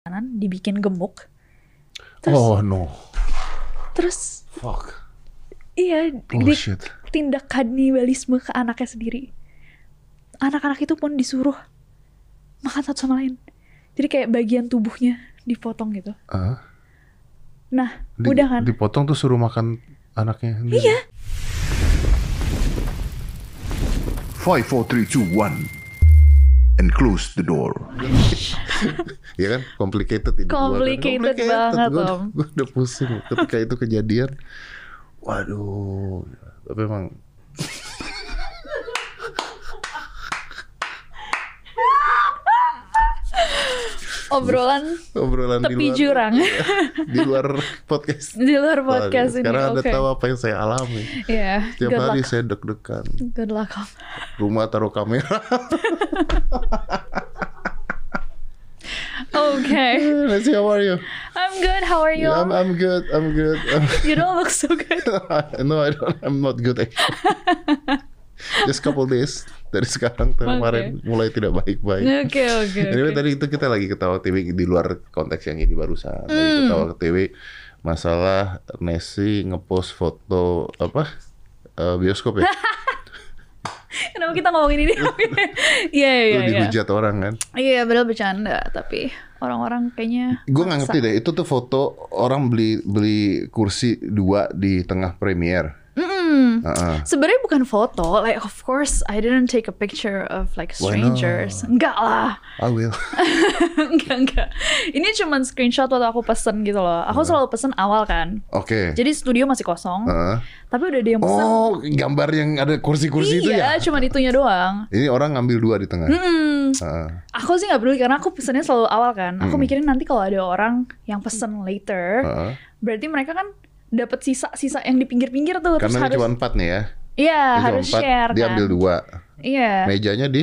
makanan dibikin gemuk. Terus, Oh no, terus fuck, Oh, iya di, bullshit. tindak kanibalisme ke anaknya sendiri. Anak-anak itu pun disuruh makan satu sama lain. Jadi kayak bagian tubuhnya dipotong gitu. Ah, Nah, di- udah kan? Dipotong tuh suruh makan anaknya. Iya. 5, 4, 3, 2, 1. And close the door. Iya kan, complicated ini. gua kan. Complicated banget, Gua udah- Om. gua udah pusing ketika itu kejadian. Waduh, tapi emang Obrolan obrolan di tepi luar jurang di luar podcast. di luar podcast ini. Waduh, Sekarang anda Oke. tahu apa yang saya alami. Iya, Tiap good hari luck. saya deg-degan. Good luck. Om. Rumah taruh kamera. Okay. Nancy, how are you? I'm good. How are you? Yeah, Om? I'm, I'm good. I'm good. Ya, I'm You don't look so good. no, I don't. I'm not good actually. Just couple days dari sekarang ke kemarin mulai tidak baik-baik. Oke, oke. Anyway, oke. tadi itu kita lagi ketawa TV di luar konteks yang ini Hmm. barusan. Lagi ketawa TV masalah Nessie ngepost foto apa eh, bioskop ya. Kenapa kita ngomongin ini? Oke. Iya, iya, Itu iya. dihujat orang kan. Iya, padahal bercanda, tapi orang-orang kayaknya Gue nggak maksa. ngerti deh. Itu tuh foto orang beli beli kursi dua di tengah premiere. Mm-mm. Heeh. Sebenarnya bukan foto, like of course I didn't take a picture of like Why not? strangers. Enggak lah. I will. enggak, enggak. Ini cuman screenshot waktu aku pesen gitu loh. Iya. Aku selalu pesen awal kan. Oke. Jadi studio masih kosong, Heeh. tapi udah ada yang pesen. Oh, gambar yang ada kursi-kursi itu ya? iya, Hmm. cuman itunya doang. Ini orang ngambil dua di tengah. Mm-mm. Ah, Aku sih nggak peduli karena aku pesennya selalu awal kan. Aku mikirin nanti kalau ada orang yang pesen later, ah. berarti mereka kan dapat sisa-sisa yang di pinggir-pinggir tuh Karena terus ini harus cuma empat nih ya. iya Ini cuma harus empat, share Dia kan. ambil dua. Iya. Mejanya di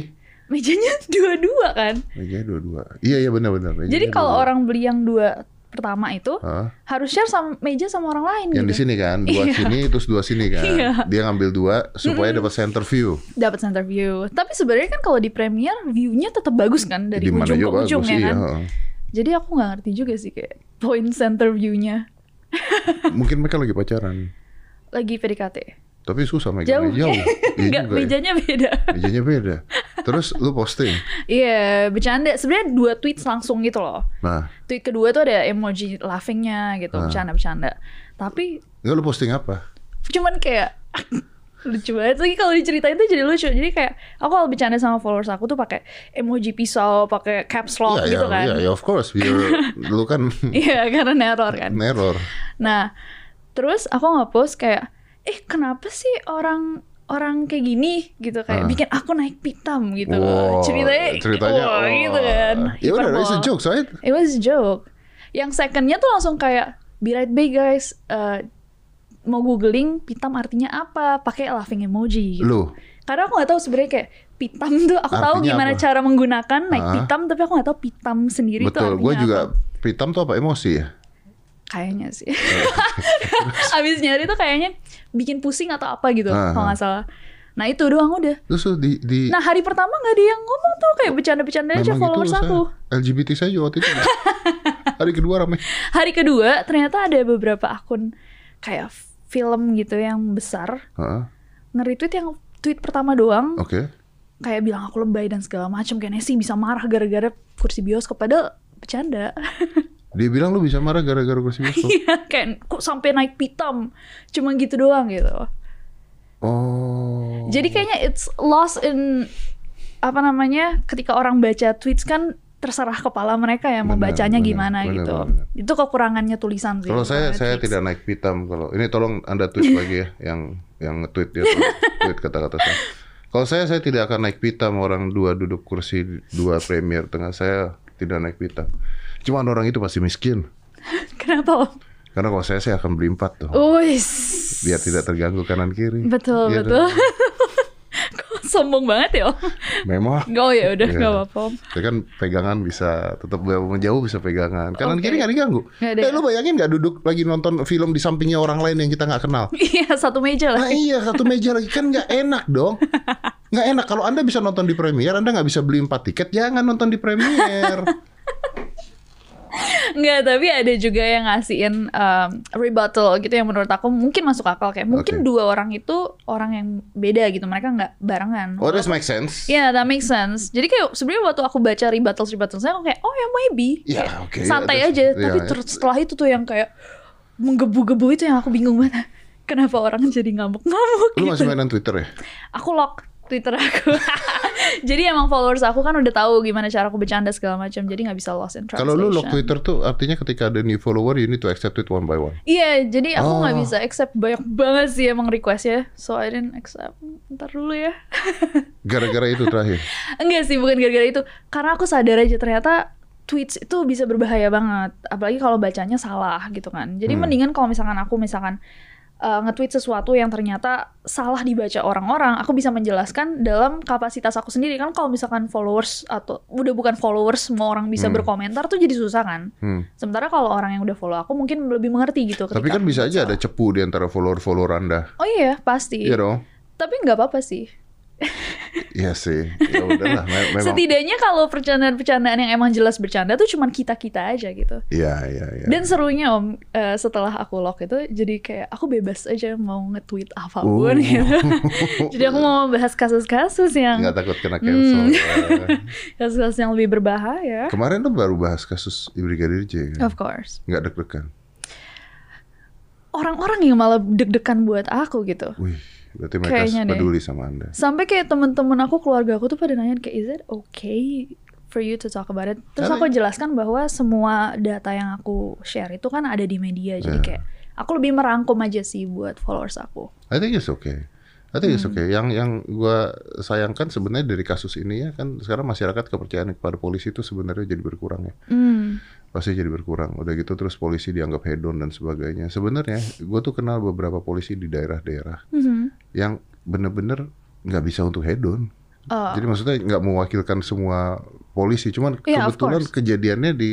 Mejanya dua-dua kan. mejanya dua-dua. Iya iya benar-benar. mejanya Jadi kalau dua-dua. orang beli yang dua pertama itu Ah, harus share sama meja sama orang lain yang di gitu. sini kan, dua Iya. sini terus dua sini kan. Iya. Dia ngambil dua supaya dapat center view. Dapat center view. Tapi sebenarnya kan kalau di premiere view-nya tetap bagus kan dari Di mana ujung ke juga ujung bagus ya iya. kan. heeh. Jadi aku nggak ngerti juga sih kayak point center view-nya Mungkin mereka lagi pacaran. lagi PDKT. Tapi susah Jauh. megangnya jauh. Enggak, Iya juga ya. mejanya beda. Mejanya beda. Terus lu posting. Iya, bercanda. Sebenarnya dua tweets langsung gitu loh. Nah, Tweet kedua tuh ada emoji laughingnya gitu, Ah. bercanda-bercanda. Tapi enggak lu posting apa? cuman kayak lucu banget lagi kalau diceritain tuh jadi lucu. Jadi kayak aku kalau bercanda sama followers aku tuh pakai emoji pisau, pakai caps lock Iya, gitu iya, kan. iya, iya, of course. You're- lu kan Iya, karena neror kan. neror. Nah, terus aku nge-post kayak, eh kenapa sih orang orang kayak gini gitu kayak Ah. bikin aku naik pitam gitu Wow, ceritanya, ceritanya wah, wah. gitu kan Ya udah, it's Hiperbol. a joke, right? It was a joke. Yang secondnya tuh langsung kayak be right back guys. Eh, mau googling pitam artinya apa? Pakai laughing emoji. Gitu. Lu, Karena aku nggak tahu sebenarnya kayak pitam tuh. Aku tahu Artinya gimana apa? cara menggunakan naik Ah. pitam, tapi aku nggak tahu pitam sendiri tuh betul. artinya Gue juga apa. pitam tuh apa emosi ya? Kayaknya sih. Abis nyari tuh kayaknya bikin pusing atau apa gitu, Eh. Ah. kalau nggak salah. Nah itu doang udah. Terus tuh di di gitu Nah hari pertama nggak ada yang ngomong tuh kayak bercanda-bercanda aja followers saya- aku. LGBT saya juga waktu itu. Hari kedua rame. Hari kedua ternyata ada beberapa akun kayak film gitu yang besar Heeh, nge-retweet yang tweet pertama doang Oke. kayak bilang aku lebay dan segala macam kayaknya sih bisa marah gara-gara kursi bioskop padahal bercanda Hmm. Dia bilang lu bisa marah gara-gara kursi bioskop. Iya, kayak kok sampai naik pitam cuma gitu doang gitu oh. jadi kayaknya it's lost in apa namanya ketika orang baca tweets kan terserah kepala mereka ya mau Benar, bacanya benar, gimana benar, gitu benar, itu kekurangannya tulisan sih Kalau saya kekurangannya saya tweets. tidak naik pitam kalau ini tolong anda tweet lagi ya yang yang nge-tweet ya tolong tweet kata-kata saya. Kalau saya saya tidak akan naik pitam orang dua duduk kursi dua premier tengah saya tidak naik pitam. Cuman orang itu pasti miskin. kenapa Om? Karena kalau saya saya akan beli empat tuh. Uis. Biar tidak terganggu kanan kiri. Betul, Iya betul. dong. Kok sombong banget ya, Om? kan? Memang. Gak, ya udah, Iya. gak apa-apa, Om. Ya kan pegangan bisa tetap menjauh bisa pegangan. Kanan Oke. kiri nggak diganggu. Nggak ada Eh ya? lu bayangin nggak duduk lagi nonton film di sampingnya orang lain yang kita nggak kenal. Iya, satu meja lah. Nah iya satu meja lagi kan nggak enak dong. Nggak enak kalau anda bisa nonton di premier, anda nggak bisa beli empat tiket, jangan nonton di premier. Nggak, tapi ada juga yang ngasihin um, rebuttal gitu yang menurut aku mungkin masuk akal kayak mungkin Oke. dua orang itu orang yang beda gitu mereka nggak barengan. Oh, that makes sense. Ya, that makes sense. Jadi kayak sebenarnya waktu aku baca rebuttals rebuttals saya aku kayak oh ya maybe. Ya, Kayak oke, Santai ya, aja. that's- Tapi ya, ya. terus setelah itu tuh yang kayak menggebu-gebu itu yang aku bingung banget. Kenapa orang jadi ngamuk-ngamuk Lu gitu? masih mainan Twitter ya? Aku lock Twitter aku. jadi emang followers aku kan udah tahu gimana cara aku bercanda segala macam. Jadi nggak bisa lost in translation. Kalau lu lock Twitter tuh artinya ketika ada new follower you need to accept it one by one. Iya, jadi aku nggak Oh. bisa accept banyak banget sih emang requestnya. So I didn't accept. Ntar dulu ya. Gara-gara itu terakhir. Enggak sih, bukan gara-gara itu. Karena aku sadar aja ternyata tweets itu bisa berbahaya banget. Apalagi kalau bacanya salah gitu kan. Hmm. Jadi mendingan kalau misalkan aku misalkan uh, nge-tweet sesuatu yang ternyata salah dibaca orang-orang, aku bisa menjelaskan dalam kapasitas aku sendiri. Kan kalau misalkan followers atau udah bukan followers semua orang bisa berkomentar tuh jadi susah kan. Hmm. Sementara kalau orang yang udah follow aku mungkin lebih mengerti gitu. Tapi ketika kan aku bisa aja salah. ada cepu di antara follower-follower Anda. Oh iya, pasti. Iya dong. Tapi nggak apa-apa sih. Iya sih. Ya udahlah, me- memang. Setidaknya kalau percandaan-percandaan yang emang jelas bercanda tuh cuman kita-kita aja gitu. Iya, iya, iya. Dan serunya om, eh, setelah aku lock itu jadi kayak aku bebas aja mau nge-tweet apapun Uh. gitu. jadi aku mau bahas kasus-kasus yang Nggak takut kena cancel. "Hmm." kasus-kasus yang lebih berbahaya. Kemarin lu baru bahas kasus Brigadir J kan? Of course. Nggak deg-degan. Orang-orang yang malah deg-degan buat aku gitu. Wih, berarti mereka Kayaknya deh. peduli sama Anda. Sampai kayak temen-temen aku, keluarga aku tuh pada nanya kayak, is it okay for you to talk about it? Terus Karena- aku jelaskan bahwa semua data yang aku share itu kan ada di media. Jadi Ya. kayak, aku lebih merangkum aja sih buat followers aku. I think it's okay. I think Hmm. it's okay. Yang yang gua sayangkan sebenarnya dari kasus ini ya kan sekarang masyarakat kepercayaan kepada polisi itu sebenarnya jadi berkurang ya. Hmm, Pasti jadi berkurang. Udah gitu terus polisi dianggap hedon dan sebagainya. Sebenarnya gua tuh kenal beberapa polisi di daerah-daerah Mhm. yang bener-bener nggak bisa untuk hedon. Oh, Jadi maksudnya nggak mewakilkan semua polisi, cuman Iya, of kebetulan course. kejadiannya di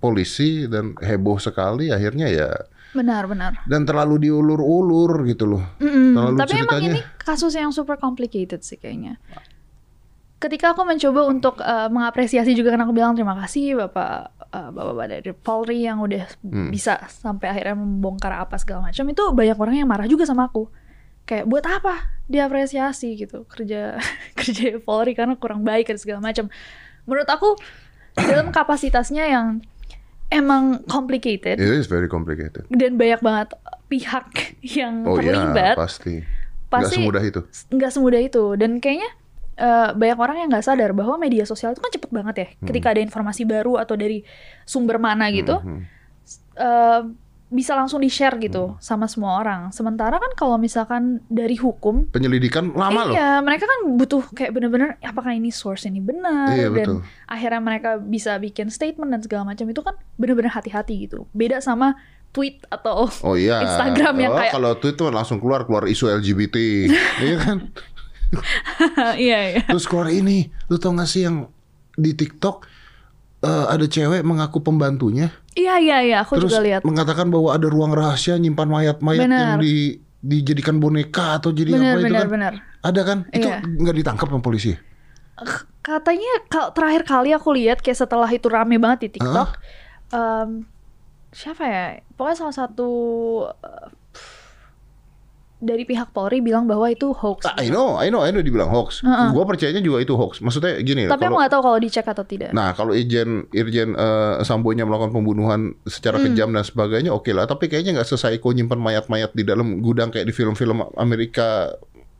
polisi dan heboh sekali akhirnya ya benar-benar. dan terlalu diulur-ulur gitu loh. Mm-mm. Terlalu Tapi emang ceritanya. ini kasus yang super complicated sih kayaknya. Ketika aku mencoba untuk eh, mengapresiasi juga karena aku bilang terima kasih bapak eh, bapak-bapak dari Polri yang udah Hmm. bisa sampai akhirnya membongkar apa segala macam itu banyak orang yang marah juga sama aku. Kayak buat apa diapresiasi gitu kerja kerja Polri karena kurang baik dan segala macam. Menurut aku dalam kapasitasnya yang emang complicated It is very complicated. dan banyak banget pihak yang Oh iya, terlibat pasti. Nggak pasti semudah itu. nggak semudah itu dan kayaknya eh, banyak orang yang nggak sadar bahwa media sosial itu kan cepet banget ya Hmm. ketika ada informasi baru atau dari sumber mana gitu Mhm. eh, bisa langsung di share Hmm. gitu sama semua orang sementara kan kalau misalkan dari hukum Penyelidikan lama loh. Iya, mereka kan butuh kayak bener-bener apakah ini source ini benar Iya, dan betul. akhirnya mereka bisa bikin statement dan segala macam itu kan bener-bener hati-hati gitu. Beda sama tweet atau Oh iya. Instagram yang Oh, kayak- kalau tweet tuh langsung keluar keluar isu LGBT, iya kan? iya iya. Terus keluar ini, lu tau gak sih yang di TikTok eh, ada cewek mengaku pembantunya, Iya iya iya, aku terus juga lihat. mengatakan bahwa ada ruang rahasia nyimpan mayat-mayat yang Benar. di dijadikan boneka atau jadi Benar apa itu benar kan? benar. Ada kan? Itu Iya. nggak ditangkap sama polisi. K- Katanya kalau terakhir kali aku lihat kayak setelah itu rame banget di TikTok. Hah? em, siapa ya? Pokoknya salah satu eh, dari pihak Polri bilang bahwa itu hoax. Ah, I know, I know, I know dibilang hoax. Heeh. Gua percayanya juga itu hoax. Maksudnya gini, Tapi iya, aku kalau- nggak tahu kalau dicek atau tidak. Nah, kalau Irjen Irjen eh, Sambonya melakukan pembunuhan secara kejam dan sebagainya, oke lah. Tapi kayaknya nggak sesaiko nyimpan mayat-mayat di dalam gudang kayak di film-film Amerika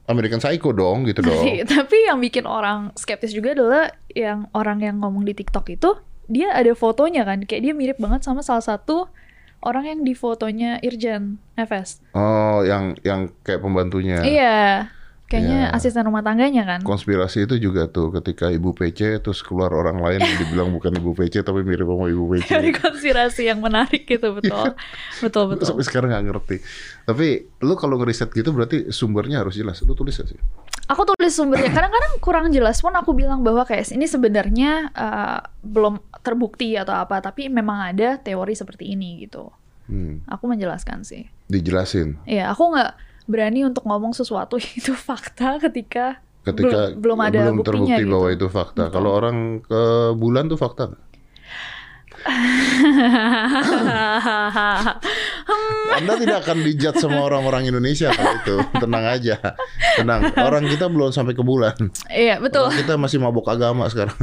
American Psycho dong, gitu Tapi, dong. tapi yang bikin orang skeptis juga adalah yang orang yang ngomong di TikTok itu dia ada fotonya kan, kayak dia mirip banget sama salah satu orang yang di fotonya Irjen FS. Oh, yang yang kayak pembantunya. Iya, kayaknya Iya. asisten rumah tangganya kan. Konspirasi itu juga tuh ketika Ibu PC terus keluar orang lain yang dibilang bukan Ibu PC tapi mirip sama Ibu teori PC. konspirasi yang menarik gitu betul betul Lu betul Iya. Sampai sekarang nggak ngerti. Tapi lu kalau ngeriset gitu berarti sumbernya harus jelas. Lu tulis gak sih? aku tulis sumbernya kadang-kadang kurang jelas pun aku bilang bahwa kayak ini sebenarnya eh, belum terbukti atau apa tapi memang ada teori seperti ini gitu Hmm, aku menjelaskan sih dijelasin. ya aku nggak berani untuk ngomong sesuatu itu fakta ketika ketika Belum- belum ada belum buktinya terbukti gitu. bahwa itu fakta. Kalau orang ke bulan tuh fakta. nggak? Hahaha. Hmm, Anda tidak akan dijat sama orang-orang Indonesia kalau itu. Tenang aja. Tenang. Orang kita belum sampai ke bulan. Iya betul. Orang kita masih mabuk agama sekarang.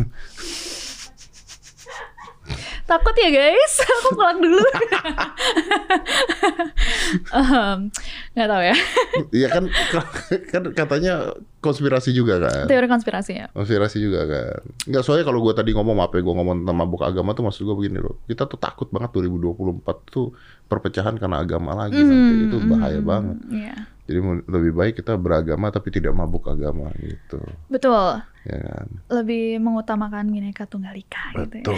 Takut ya guys, aku pulang dulu. Em, Nggak tahu ya Iya kan kan katanya konspirasi juga kan. teori ya. konspirasinya. Konspirasi juga kan. Enggak soalnya kalau gue tadi ngomong apa ya, gue ngomong tentang mabuk agama tuh maksud gue begini loh. Kita tuh takut banget 2024 tuh perpecahan karena agama lagi nanti Hmm. itu bahaya banget. Iya Jadi men- lebih baik kita beragama tapi tidak mabuk agama gitu. betul. Ya kan. Lebih mengutamakan bineka tunggal ika. Gitu ya. Betul.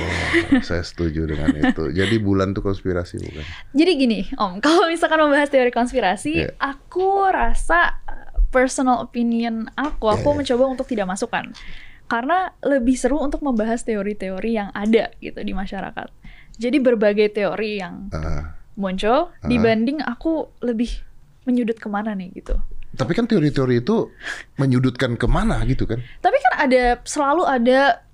Saya setuju dengan itu. Jadi bulan tuh konspirasi bukan. Jadi gini, Om, kalau misalkan membahas teori konspirasi, Iya. aku rasa uh, personal opinion aku, aku Iya, iya. mencoba untuk tidak masukkan. Karena lebih seru untuk membahas teori-teori yang ada gitu di masyarakat. Jadi berbagai teori yang Ah. muncul Ah. dibanding aku lebih menyudut kemana nih gitu. tapi kan teori-teori itu menyudutkan kemana gitu kan. Tapi kan ada selalu ada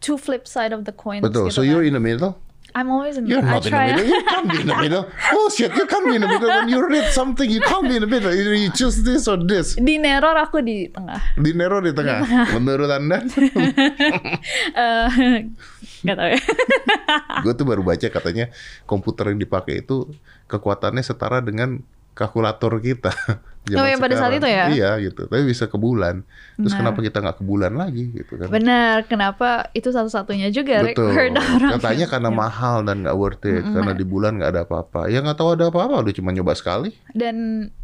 two flip side of the gitu kan. coin. Betul. So you're in the middle. I'm always in. You're I not in the try. middle. You can't be in the middle. Oh shit, you can't be in the middle. When you read something, you can't be in the middle. Either you choose this or this. Di neror aku di tengah. Dinero di tengah. Menurut anda, Eh, Nggak tahu ya. gue tuh baru baca katanya komputer yang dipakai itu kekuatannya setara dengan kalkulator kita. zaman Oh, yang pada saat sekarang. itu ya? Nah. Iya gitu. Tapi bisa ke bulan. Terus Benar. kenapa kita nggak ke bulan lagi gitu kan? Benar, kenapa itu satu-satunya juga Rick, Betul. heard orang. gitu. Iya. Katanya karena mahal dan nggak worth it. Karena di bulan nggak ada apa-apa. Ya nggak tahu ada apa-apa. Udah cuma nyoba sekali. Dan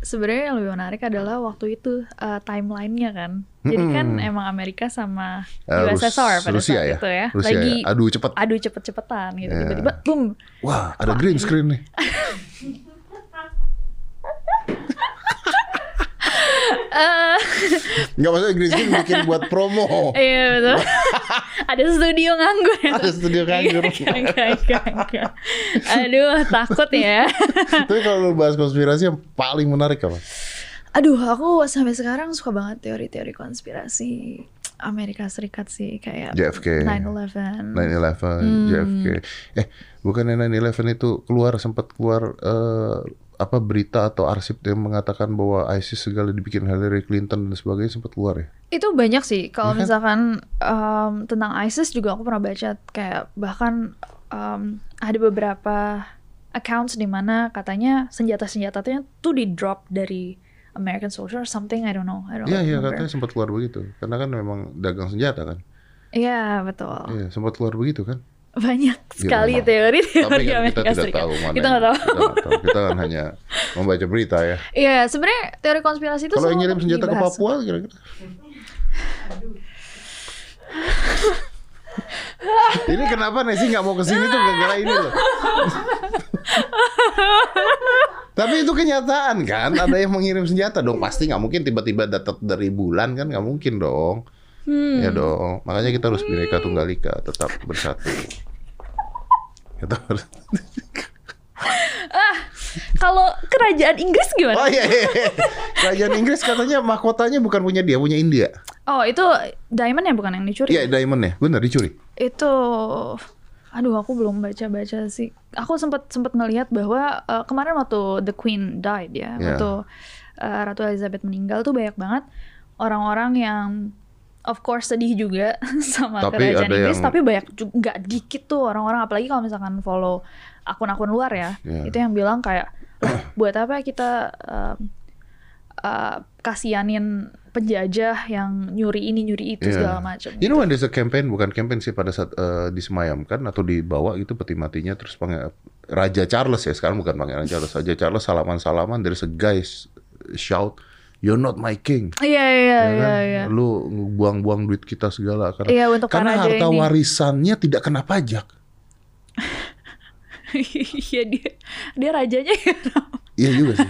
sebenarnya yang lebih menarik adalah waktu itu eh, timelinenya kan. Jadi kan Mm-mm. emang Amerika sama Eh, Rus- USSR pada Rusia saat ya? itu ya, Rusia lagi ya. Aduh cepet. aduh cepet-cepetan gitu Ya. tiba-tiba boom. Wah, ada green screen nih. Eh, Nggak maksudnya green screen bikin buat promo. iya betul. Ada studio nganggur ya. Ada studio nganggur. Enggak, enggak, enggak, enggak. Aduh, takut ya. Tapi kalau lu bahas konspirasi yang paling menarik apa? Aduh, aku sampai sekarang suka banget teori-teori konspirasi Amerika Serikat sih kayak JFK. 9/11. Nah, 9/11, Hmm. JFK. Eh, bukannya 9/11 itu keluar sempat keluar eh, apa berita atau arsip yang mengatakan bahwa ISIS segala dibikin Hillary Clinton dan sebagainya sempat keluar ya? Itu banyak sih. Kalau Iya kan? misalkan em, tentang ISIS juga aku pernah baca kayak bahkan em, ada beberapa accounts di mana katanya senjata-senjatanya tuh di drop dari American soldier or something I don't know. I don't Iya, iya remember. katanya sempat keluar begitu. Karena kan memang dagang senjata kan. Iya, betul. Iya, sempat keluar begitu kan. Banyak sekali memang. teori-teori Tapi kan Amerika kita tidak Serikat. tahu mana. Iya, Kita yang- nggak tahu. Kita, nggak tahu. Kita kan hanya membaca berita ya. Iya, sebenarnya teori konspirasi itu Kalau yang selalu ngirim senjata ke dibahas. Papua kira-kira. ini kenapa Nesi nggak mau kesini tuh gara-gara ini loh. Tapi itu kenyataan kan, ada yang mengirim senjata dong. Pasti nggak mungkin tiba-tiba datat dari bulan kan, nggak mungkin dong. Ya dong, makanya kita harus bineka tunggal ika, tetap bersatu. Kita harus. Kalau kerajaan Inggris gimana? Oh iya, iya, iya. kerajaan Inggris katanya mahkotanya bukan punya dia, punya India. Oh, itu diamond ya bukan yang dicuri. Iya, diamond ya, bener dicuri. itu aduh aku belum baca-baca sih aku sempat sempat ngelihat bahwa eh, kemarin waktu the queen died ya Ya. waktu eh, ratu Elizabeth meninggal tuh banyak banget orang-orang yang of course sedih juga sama Tapi kerajaan ada Inggris yang- tapi banyak juga nggak dikit tuh orang-orang apalagi kalau misalkan follow akun-akun luar ya Ya. itu yang bilang kayak "Lah, buat apa kita eh, eh, kasianin penjajah yang nyuri ini nyuri itu Iya. segala macam You know when there's a campaign, bukan campaign sih pada saat eh, disemayamkan atau dibawa gitu peti matinya terus pange- Raja Charles ya sekarang bukan Pangeran Charles, Raja Charles salaman-salaman dari guys shout You're not my king. Iya iya Ya iya kan? iya. Lu buang-buang duit kita segala karena, Iya, untuk gitu. karena para raja harta ini. warisannya tidak kena pajak. Iya dia dia rajanya ya. Iya juga sih.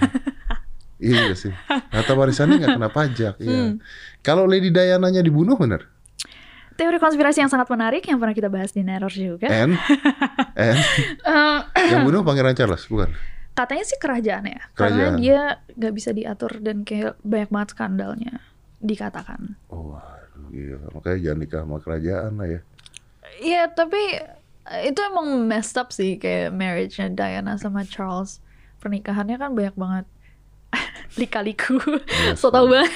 iya juga sih. Harta warisannya nggak kena pajak. Iya. Hmm. Kalau Lady Diana-nya dibunuh bener? Teori konspirasi yang sangat menarik yang pernah kita bahas di Neror juga. And, and Eh, yang bunuh Pangeran Charles bukan? katanya sih kerajaan ya. Karena Kerajaan. dia nggak bisa diatur dan kayak banyak banget skandalnya dikatakan. iya. Oh, aduh, gila. Makanya jangan nikah sama kerajaan lah ya. Iya tapi itu emang messed up sih kayak marriage-nya Diana sama Charles. Pernikahannya kan banyak banget lika-liku. so tau banget.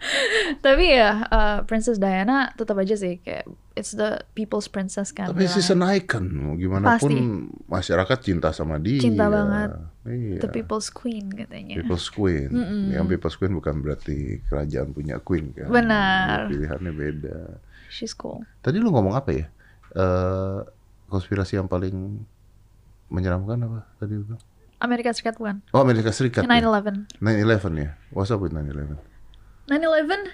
Tapi ya eh, Princess Diana tetap aja sih kayak it's the people's princess kan. Tapi she's bilangnya. an icon, mau gimana Pasti. pun masyarakat cinta sama dia. Cinta banget. Iya. The people's queen katanya. People's Queen. Yang People's Queen bukan berarti kerajaan punya Queen kan. Benar. Pilihannya beda. She's cool. Tadi lu ngomong apa ya? Eh konspirasi yang paling menyeramkan apa tadi lu? bilang? Amerika Serikat bukan? Oh Amerika Serikat. ya? 9/11. 9/11 ya. What's up with 9/11? 9/11 eh,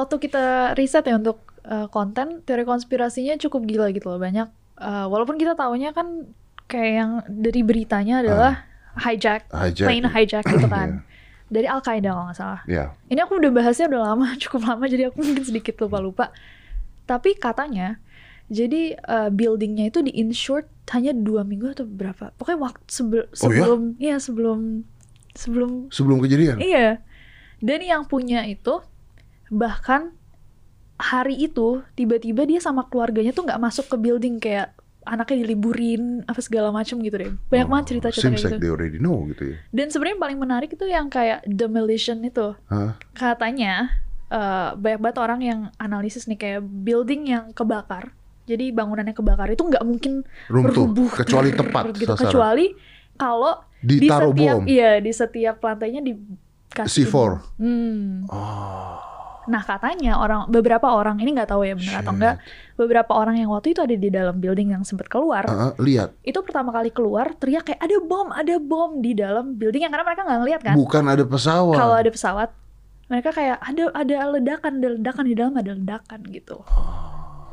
waktu kita riset ya untuk eh, konten teori konspirasinya cukup gila gitu loh banyak eh, walaupun kita taunya kan kayak yang dari beritanya adalah hijack, Ah. Hijack. Iya. plane hijack gitu kan dari Al Qaeda kalau nggak salah Ya. ini aku udah bahasnya udah lama cukup lama jadi aku mungkin sedikit lupa lupa tapi katanya jadi eh, buildingnya itu di insured hanya dua minggu atau berapa pokoknya waktu sebel- Oh ya? sebelum ya sebelum sebelum Sebelum kejadian. Iya. Dan yang punya itu bahkan hari itu tiba-tiba dia sama keluarganya tuh nggak masuk ke building kayak anaknya diliburin apa segala macem gitu deh. Banyak banget cerita-cerita Oh, kayak Seems like gitu. they already know gitu ya. Dan sebenarnya yang paling menarik itu yang kayak demolition itu. Hah? Katanya eh, banyak banget orang yang analisis nih kayak building yang kebakar. Jadi bangunannya kebakar itu nggak mungkin Runtuh, bertubuh kecuali tepat gitu. sasaran. Kecuali kalau di Ditaruh setiap bom. iya di setiap lantainya dikasih C4. Hmm. Oh. Nah katanya orang beberapa orang ini nggak tahu ya benar atau Shit. enggak beberapa orang yang waktu itu ada di dalam building yang sempat keluar Ah, ah, lihat, itu pertama kali keluar teriak kayak ada bom ada bom di dalam building yang karena mereka nggak ngeliat kan bukan ada pesawat. kalau ada pesawat mereka kayak ada ada ledakan ada ledakan di dalam ada ledakan gitu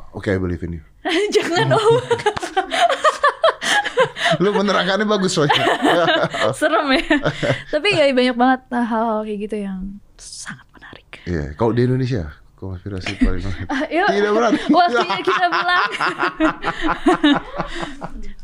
Oke, I believe in you. jangan om Lu menerangkannya bagus soalnya. serem ya tapi ya banyak banget hal-hal kayak gitu yang sangat menarik Iya, kalau di Indonesia konspirasi paling Iya. Ah, yuk. Tidak berani. Waktunya iya, kita pulang.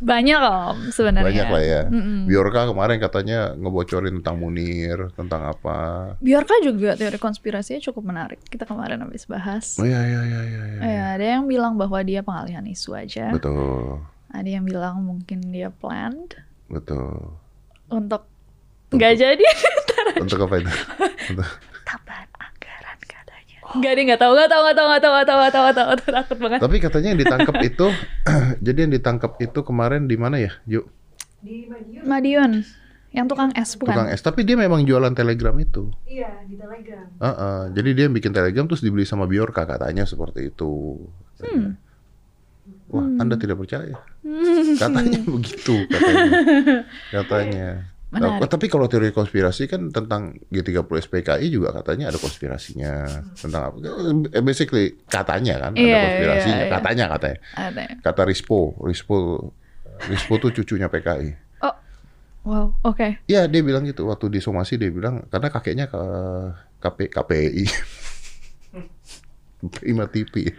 Banyak om sebenarnya. banyak lah ya. Mm-mm. Biorka kemarin katanya ngebocorin tentang Munir, tentang apa? Biorka juga teori konspirasinya cukup menarik. Kita kemarin habis bahas. Oh iya iya iya iya. iya. Ya, ada yang bilang bahwa dia pengalihan isu aja. Betul, Ada yang bilang mungkin dia planned betul. untuk nggak jadi Ntar Untuk apa itu? Untuk tambahan anggaran katanya. Oh. Nggak dia nggak tahu nggak tahu nggak tahu nggak tahu nggak tahu nggak tahu nggak tahu nggak tahu takut banget. Tapi katanya yang ditangkap itu, jadi yang ditangkap itu kemarin di mana ya? Yuk, Madiun yang tukang es tukang bukan? es. Tapi dia memang jualan telegram itu. Iya, di Telegram. Heeh. Jadi dia bikin telegram terus dibeli sama Biorka katanya seperti itu. Hmm. Wah, Anda tidak percaya? Katanya begitu katanya. Katanya. Nah, Menarik. tapi kalau teori konspirasi kan tentang G30 SPKI juga katanya ada konspirasinya tentang apa? Eh, Basically katanya kan ada Iya, konspirasinya, iya, iya. katanya katanya. Ada. ya? Kata Rispo, Rispo Rispo tuh cucunya PKI. Oh, wow, oke. Iya, dia bilang gitu waktu di somasi dia bilang karena kakeknya ke KP, KPI. Prima TV.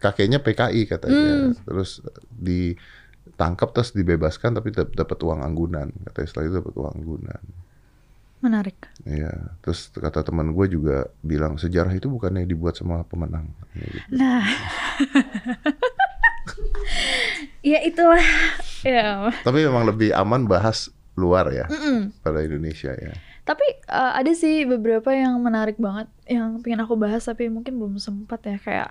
Kakeknya PKI Hmm. katanya. Terus ditangkap terus dibebaskan tapi dap- dapat uang anggunan. Katanya setelah itu dapat uang anggunan. Menarik. Iya, terus kata teman gue juga bilang sejarah itu bukannya dibuat sama pemenang. Ya gitu. Nah. ya itulah. Ya. Tapi memang lebih aman bahas luar ya Mm-mm. pada Indonesia ya. Tapi eh, ada sih beberapa yang menarik banget yang pengen aku bahas tapi mungkin belum sempat ya kayak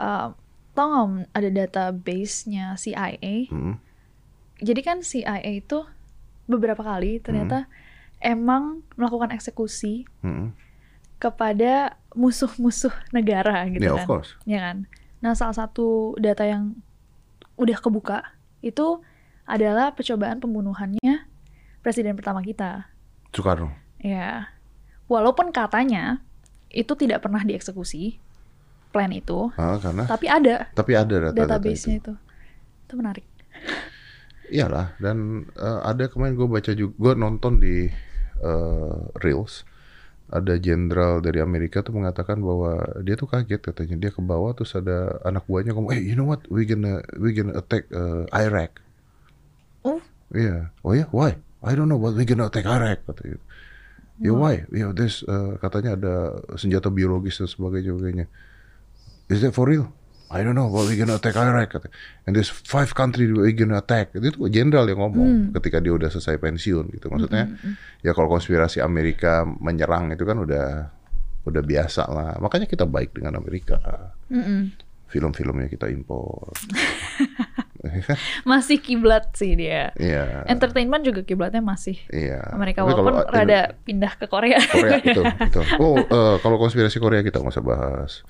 eh, tau nggak Om, ada database-nya CIA. Hmm. Jadi kan CIA itu beberapa kali ternyata emang melakukan eksekusi Hmm. kepada musuh-musuh negara gitu Ya, kan. of course. ya kan? Nah, salah satu data yang udah kebuka itu adalah percobaan pembunuhannya presiden pertama kita. Soekarno. Ya. Walaupun katanya itu tidak pernah dieksekusi plan itu, Ah, karena tapi ada tapi ada data-data itu. database-nya itu. Itu menarik. Iyalah dan eh, ada kemarin gue baca juga gue nonton di eh, reels ada jenderal dari Amerika tuh mengatakan bahwa dia tuh kaget katanya dia ke bawah terus ada anak buahnya ngomong eh you know what we gonna we gonna attack eh, Iraq Oh. iya oh ya why I don't know but we gonna attack Iraq katanya ya why ya this eh, katanya ada senjata biologis dan sebagainya sebagainya is that for real I don't know what we gonna attack Iraq kata. and there's five country we gonna attack itu tuh jenderal yang ngomong ketika dia udah selesai pensiun gitu Hmm. maksudnya ya kalau konspirasi Amerika menyerang itu kan udah udah biasa lah makanya kita baik dengan Amerika Mm-mm. film-filmnya kita impor Iya kan? Masih kiblat sih dia. iya Entertainment juga kiblatnya masih iya Amerika Tapi kalau walaupun in- rada pindah ke Korea. Korea itu, itu. Oh, eh, kalau konspirasi Korea kita nggak usah bahas.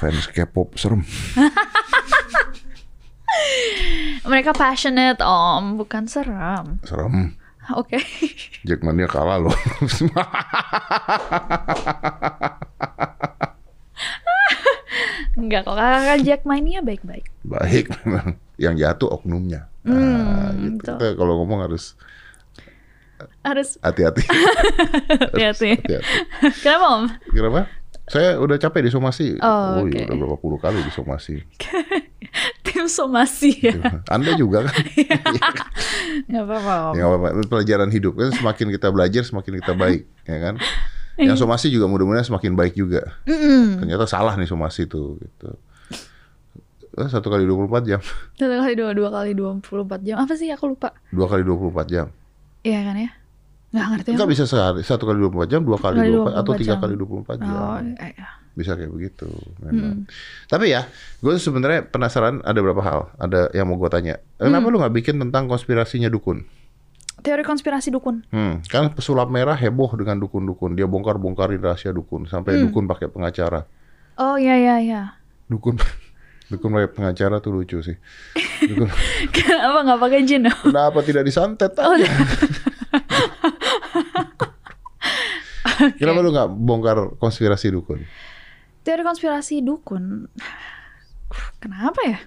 Fans K-pop serem. Mereka passionate om, bukan seram. serem Oke. Jackmania kalah loh Enggak kok kakak Jack mainnya baik-baik. baik memang yang jatuh oknumnya Nah, Hmm, gitu. betul. Kita kalau ngomong harus Harus hati-hati hati-hati. hati-hati Kenapa om? kenapa saya udah capek disomasi Oh, Wih, oke. udah berapa puluh kali disomasi Tim somasi ya. anda juga kan Gak apa-apa om. ya, apa-apa. pelajaran hidup kan semakin kita belajar semakin kita baik ya kan Iya. yang somasi juga mudah-mudahan semakin baik juga Mm-mm. ternyata salah nih somasi tuh gitu Eh, satu kali 24 jam Satu kali dua, dua kali dua puluh empat jam. Apa sih aku lupa? dua kali 24 jam Iya kan ya? Gak ngerti Enggak om. bisa sehari, satu kali 24 jam, dua kali, Kali 24, atau 24 tiga jam. kali 24 jam. Oh, iya, Hmm. iya. Bisa kayak begitu. memang. Tapi ya, gue sebenarnya penasaran ada berapa hal. Ada yang mau gue tanya. Hmm. Kenapa lu nggak bikin tentang konspirasinya dukun? Teori konspirasi dukun. Hmm, kan pesulap merah heboh dengan dukun-dukun. Dia bongkar-bongkarin rahasia dukun. Sampai Hmm. dukun pakai pengacara. Oh iya iya iya. Dukun dukun pakai pengacara tuh lucu sih. Dukun, Kenapa nggak pakai jin om? kenapa tidak disantet? Oh, Kenapa lu nggak bongkar konspirasi dukun? Teori konspirasi dukun. Kenapa ya?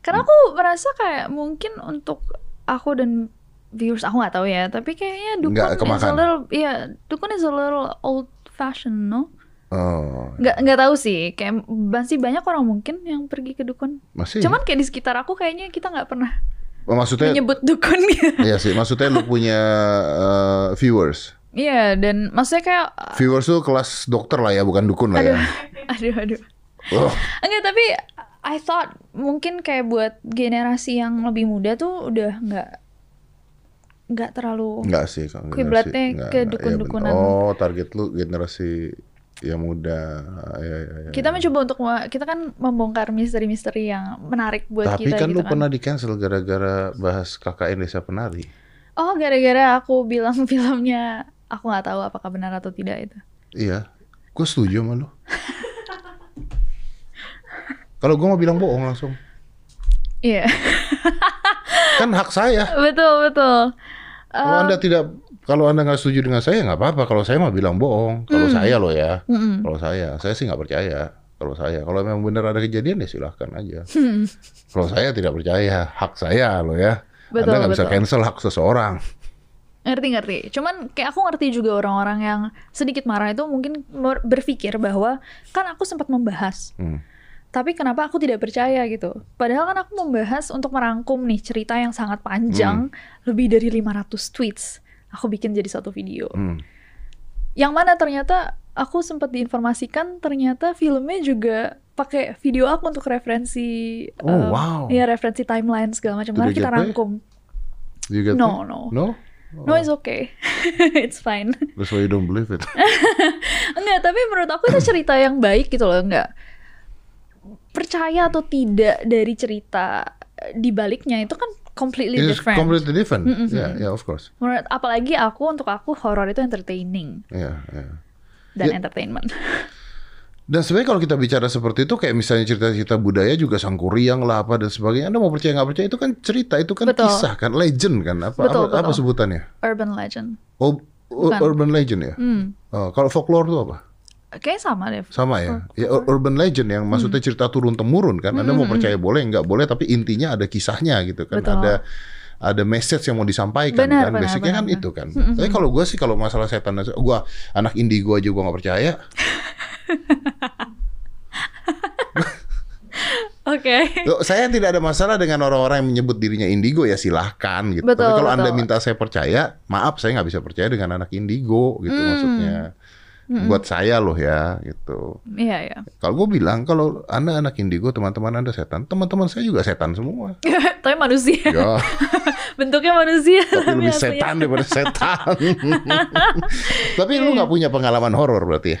Karena aku Hmm. merasa kayak mungkin untuk aku dan viewers aku nggak tahu ya, tapi kayaknya dukun Nggak is a kemakan. little, iya dukun is a little old fashioned, no? Oh, Nggak nggak tahu sih, kayak masih banyak orang mungkin yang pergi ke dukun. masih. Cuman kayak di sekitar aku kayaknya kita nggak pernah Iya. maksudnya menyebut dukun gitu. Iya sih, maksudnya lu punya eh, viewers. Iya, dan maksudnya kayak Viewers tuh kelas dokter lah ya, bukan dukun lah ya. aduh aduh. Oh, Enggak, tapi I thought mungkin kayak buat generasi yang lebih muda tuh udah nggak nggak terlalu enggak sih. Kang, generasi- Kiblatnya enggak, ke enggak, iya dukun-dukunan. bener. oh, target lu generasi yang muda. Ya, ya, ya. kita mencoba untuk me- kita kan membongkar misteri-misteri yang menarik buat Tapi kita kan gitu lu pernah di cancel gara-gara bahas KKN Desa Penari. Oh, gara-gara aku bilang filmnya aku nggak tahu apakah benar atau tidak itu. Iya, gue setuju sama lu. Kalau gue mau bilang bohong langsung, Iya, kan hak saya. betul betul. Eh, Kalau anda tidak, kalau anda nggak setuju dengan saya nggak apa-apa. Kalau saya mah bilang Hmm. bohong. Kalau saya loh ya, Mm-mm. kalau saya, saya sih nggak percaya. Kalau saya, kalau memang benar ada kejadian ya silahkan aja. Kalau saya tidak percaya, hak saya loh ya. Betul, anda nggak bisa betul. cancel hak seseorang. Ngerti-ngerti. Cuman kayak aku ngerti juga orang-orang yang sedikit marah itu mungkin mer- berpikir bahwa kan aku sempat membahas Hmm. tapi kenapa aku tidak percaya gitu. Padahal kan aku membahas untuk merangkum nih cerita yang sangat Hmm. panjang, lebih dari 500 tweets. Aku bikin jadi satu video. Hmm. Yang mana ternyata aku sempat diinformasikan ternyata filmnya juga pakai video aku untuk referensi Oh, eh, wow. ya? ya referensi timeline segala macam Itu karena udah kita JP? rangkum. You get No, me? no. no. No, it's okay. it's fine. That's why you don't believe it. Enggak, tapi menurut aku itu cerita yang baik gitu loh, enggak percaya atau tidak dari cerita eh, di baliknya itu kan completely It's different. completely different. Mm-mm. Yeah, yeah, of course. Menurut apalagi aku untuk aku horor itu entertaining Yeah, yeah. dan Ya. entertainment. Dan sebenarnya kalau kita bicara seperti itu, kayak misalnya cerita-cerita budaya juga sangkuriang lah apa dan sebagainya. Anda mau percaya nggak percaya itu kan cerita, itu kan Betul. kisah kan, legend kan, apa Betul, apa, apa betul. sebutannya? Urban legend. Oh, u- Bukan. urban legend ya. Hmm. Oh, kalau folklore itu apa? Kayaknya sama deh. Sama ya. Ya ur- urban legend yang maksudnya Hmm. cerita turun temurun kan. Anda mau percaya boleh nggak boleh, tapi intinya ada kisahnya gitu kan. Betul. Ada ada message yang mau disampaikan Benar, kan. benar, Basicnya benar, benar. kan Hmm, itu kan. Tapi kalau gue sih kalau masalah setan dan se- gua anak indigo aja gua nggak percaya. Oke. Loh, saya tidak ada masalah dengan orang-orang yang menyebut dirinya indigo ya silahkan gitu. Betul, Tapi kalau betul. Hmm. anda minta saya percaya, maaf saya nggak bisa percaya dengan anak indigo gitu maksudnya. buat saya loh ya gitu. Iya, iya. Kalau gue bilang kalau anda anak indigo teman-teman anda setan, teman-teman saya juga setan semua. Tapi manusia. Ya, Bentuknya manusia. tapi lebih aslinya- setan daripada setan. tapi Iya. lu nggak punya pengalaman horor berarti ya?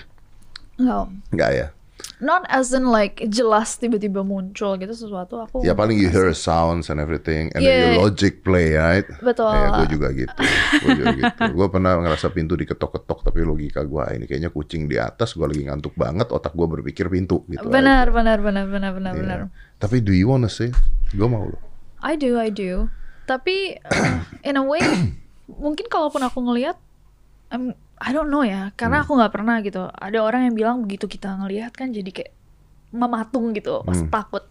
Nggak, Om. Nggak ya? Not as in like jelas tiba-tiba muncul gitu sesuatu aku. Ya paling you hear sounds and everything, and then Yeah. your logic play right. Betul. Ya, gue juga gitu. Gue juga gitu. Gue pernah ngerasa pintu diketok-ketok, tapi logika gue ini kayaknya kucing di atas. Gue lagi ngantuk banget, otak gue berpikir pintu gitu. benar, benar, benar, benar, benar, aja. benar. Iya. Tapi do you wanna see? Gue mau loh. I do, I do. Tapi uh, in a way, mungkin kalaupun aku ngelihat, I'm, I don't know ya, Hmm. karena aku nggak pernah gitu. Ada orang yang bilang begitu kita ngelihat kan jadi kayak mematung gitu, pas Hmm. takut.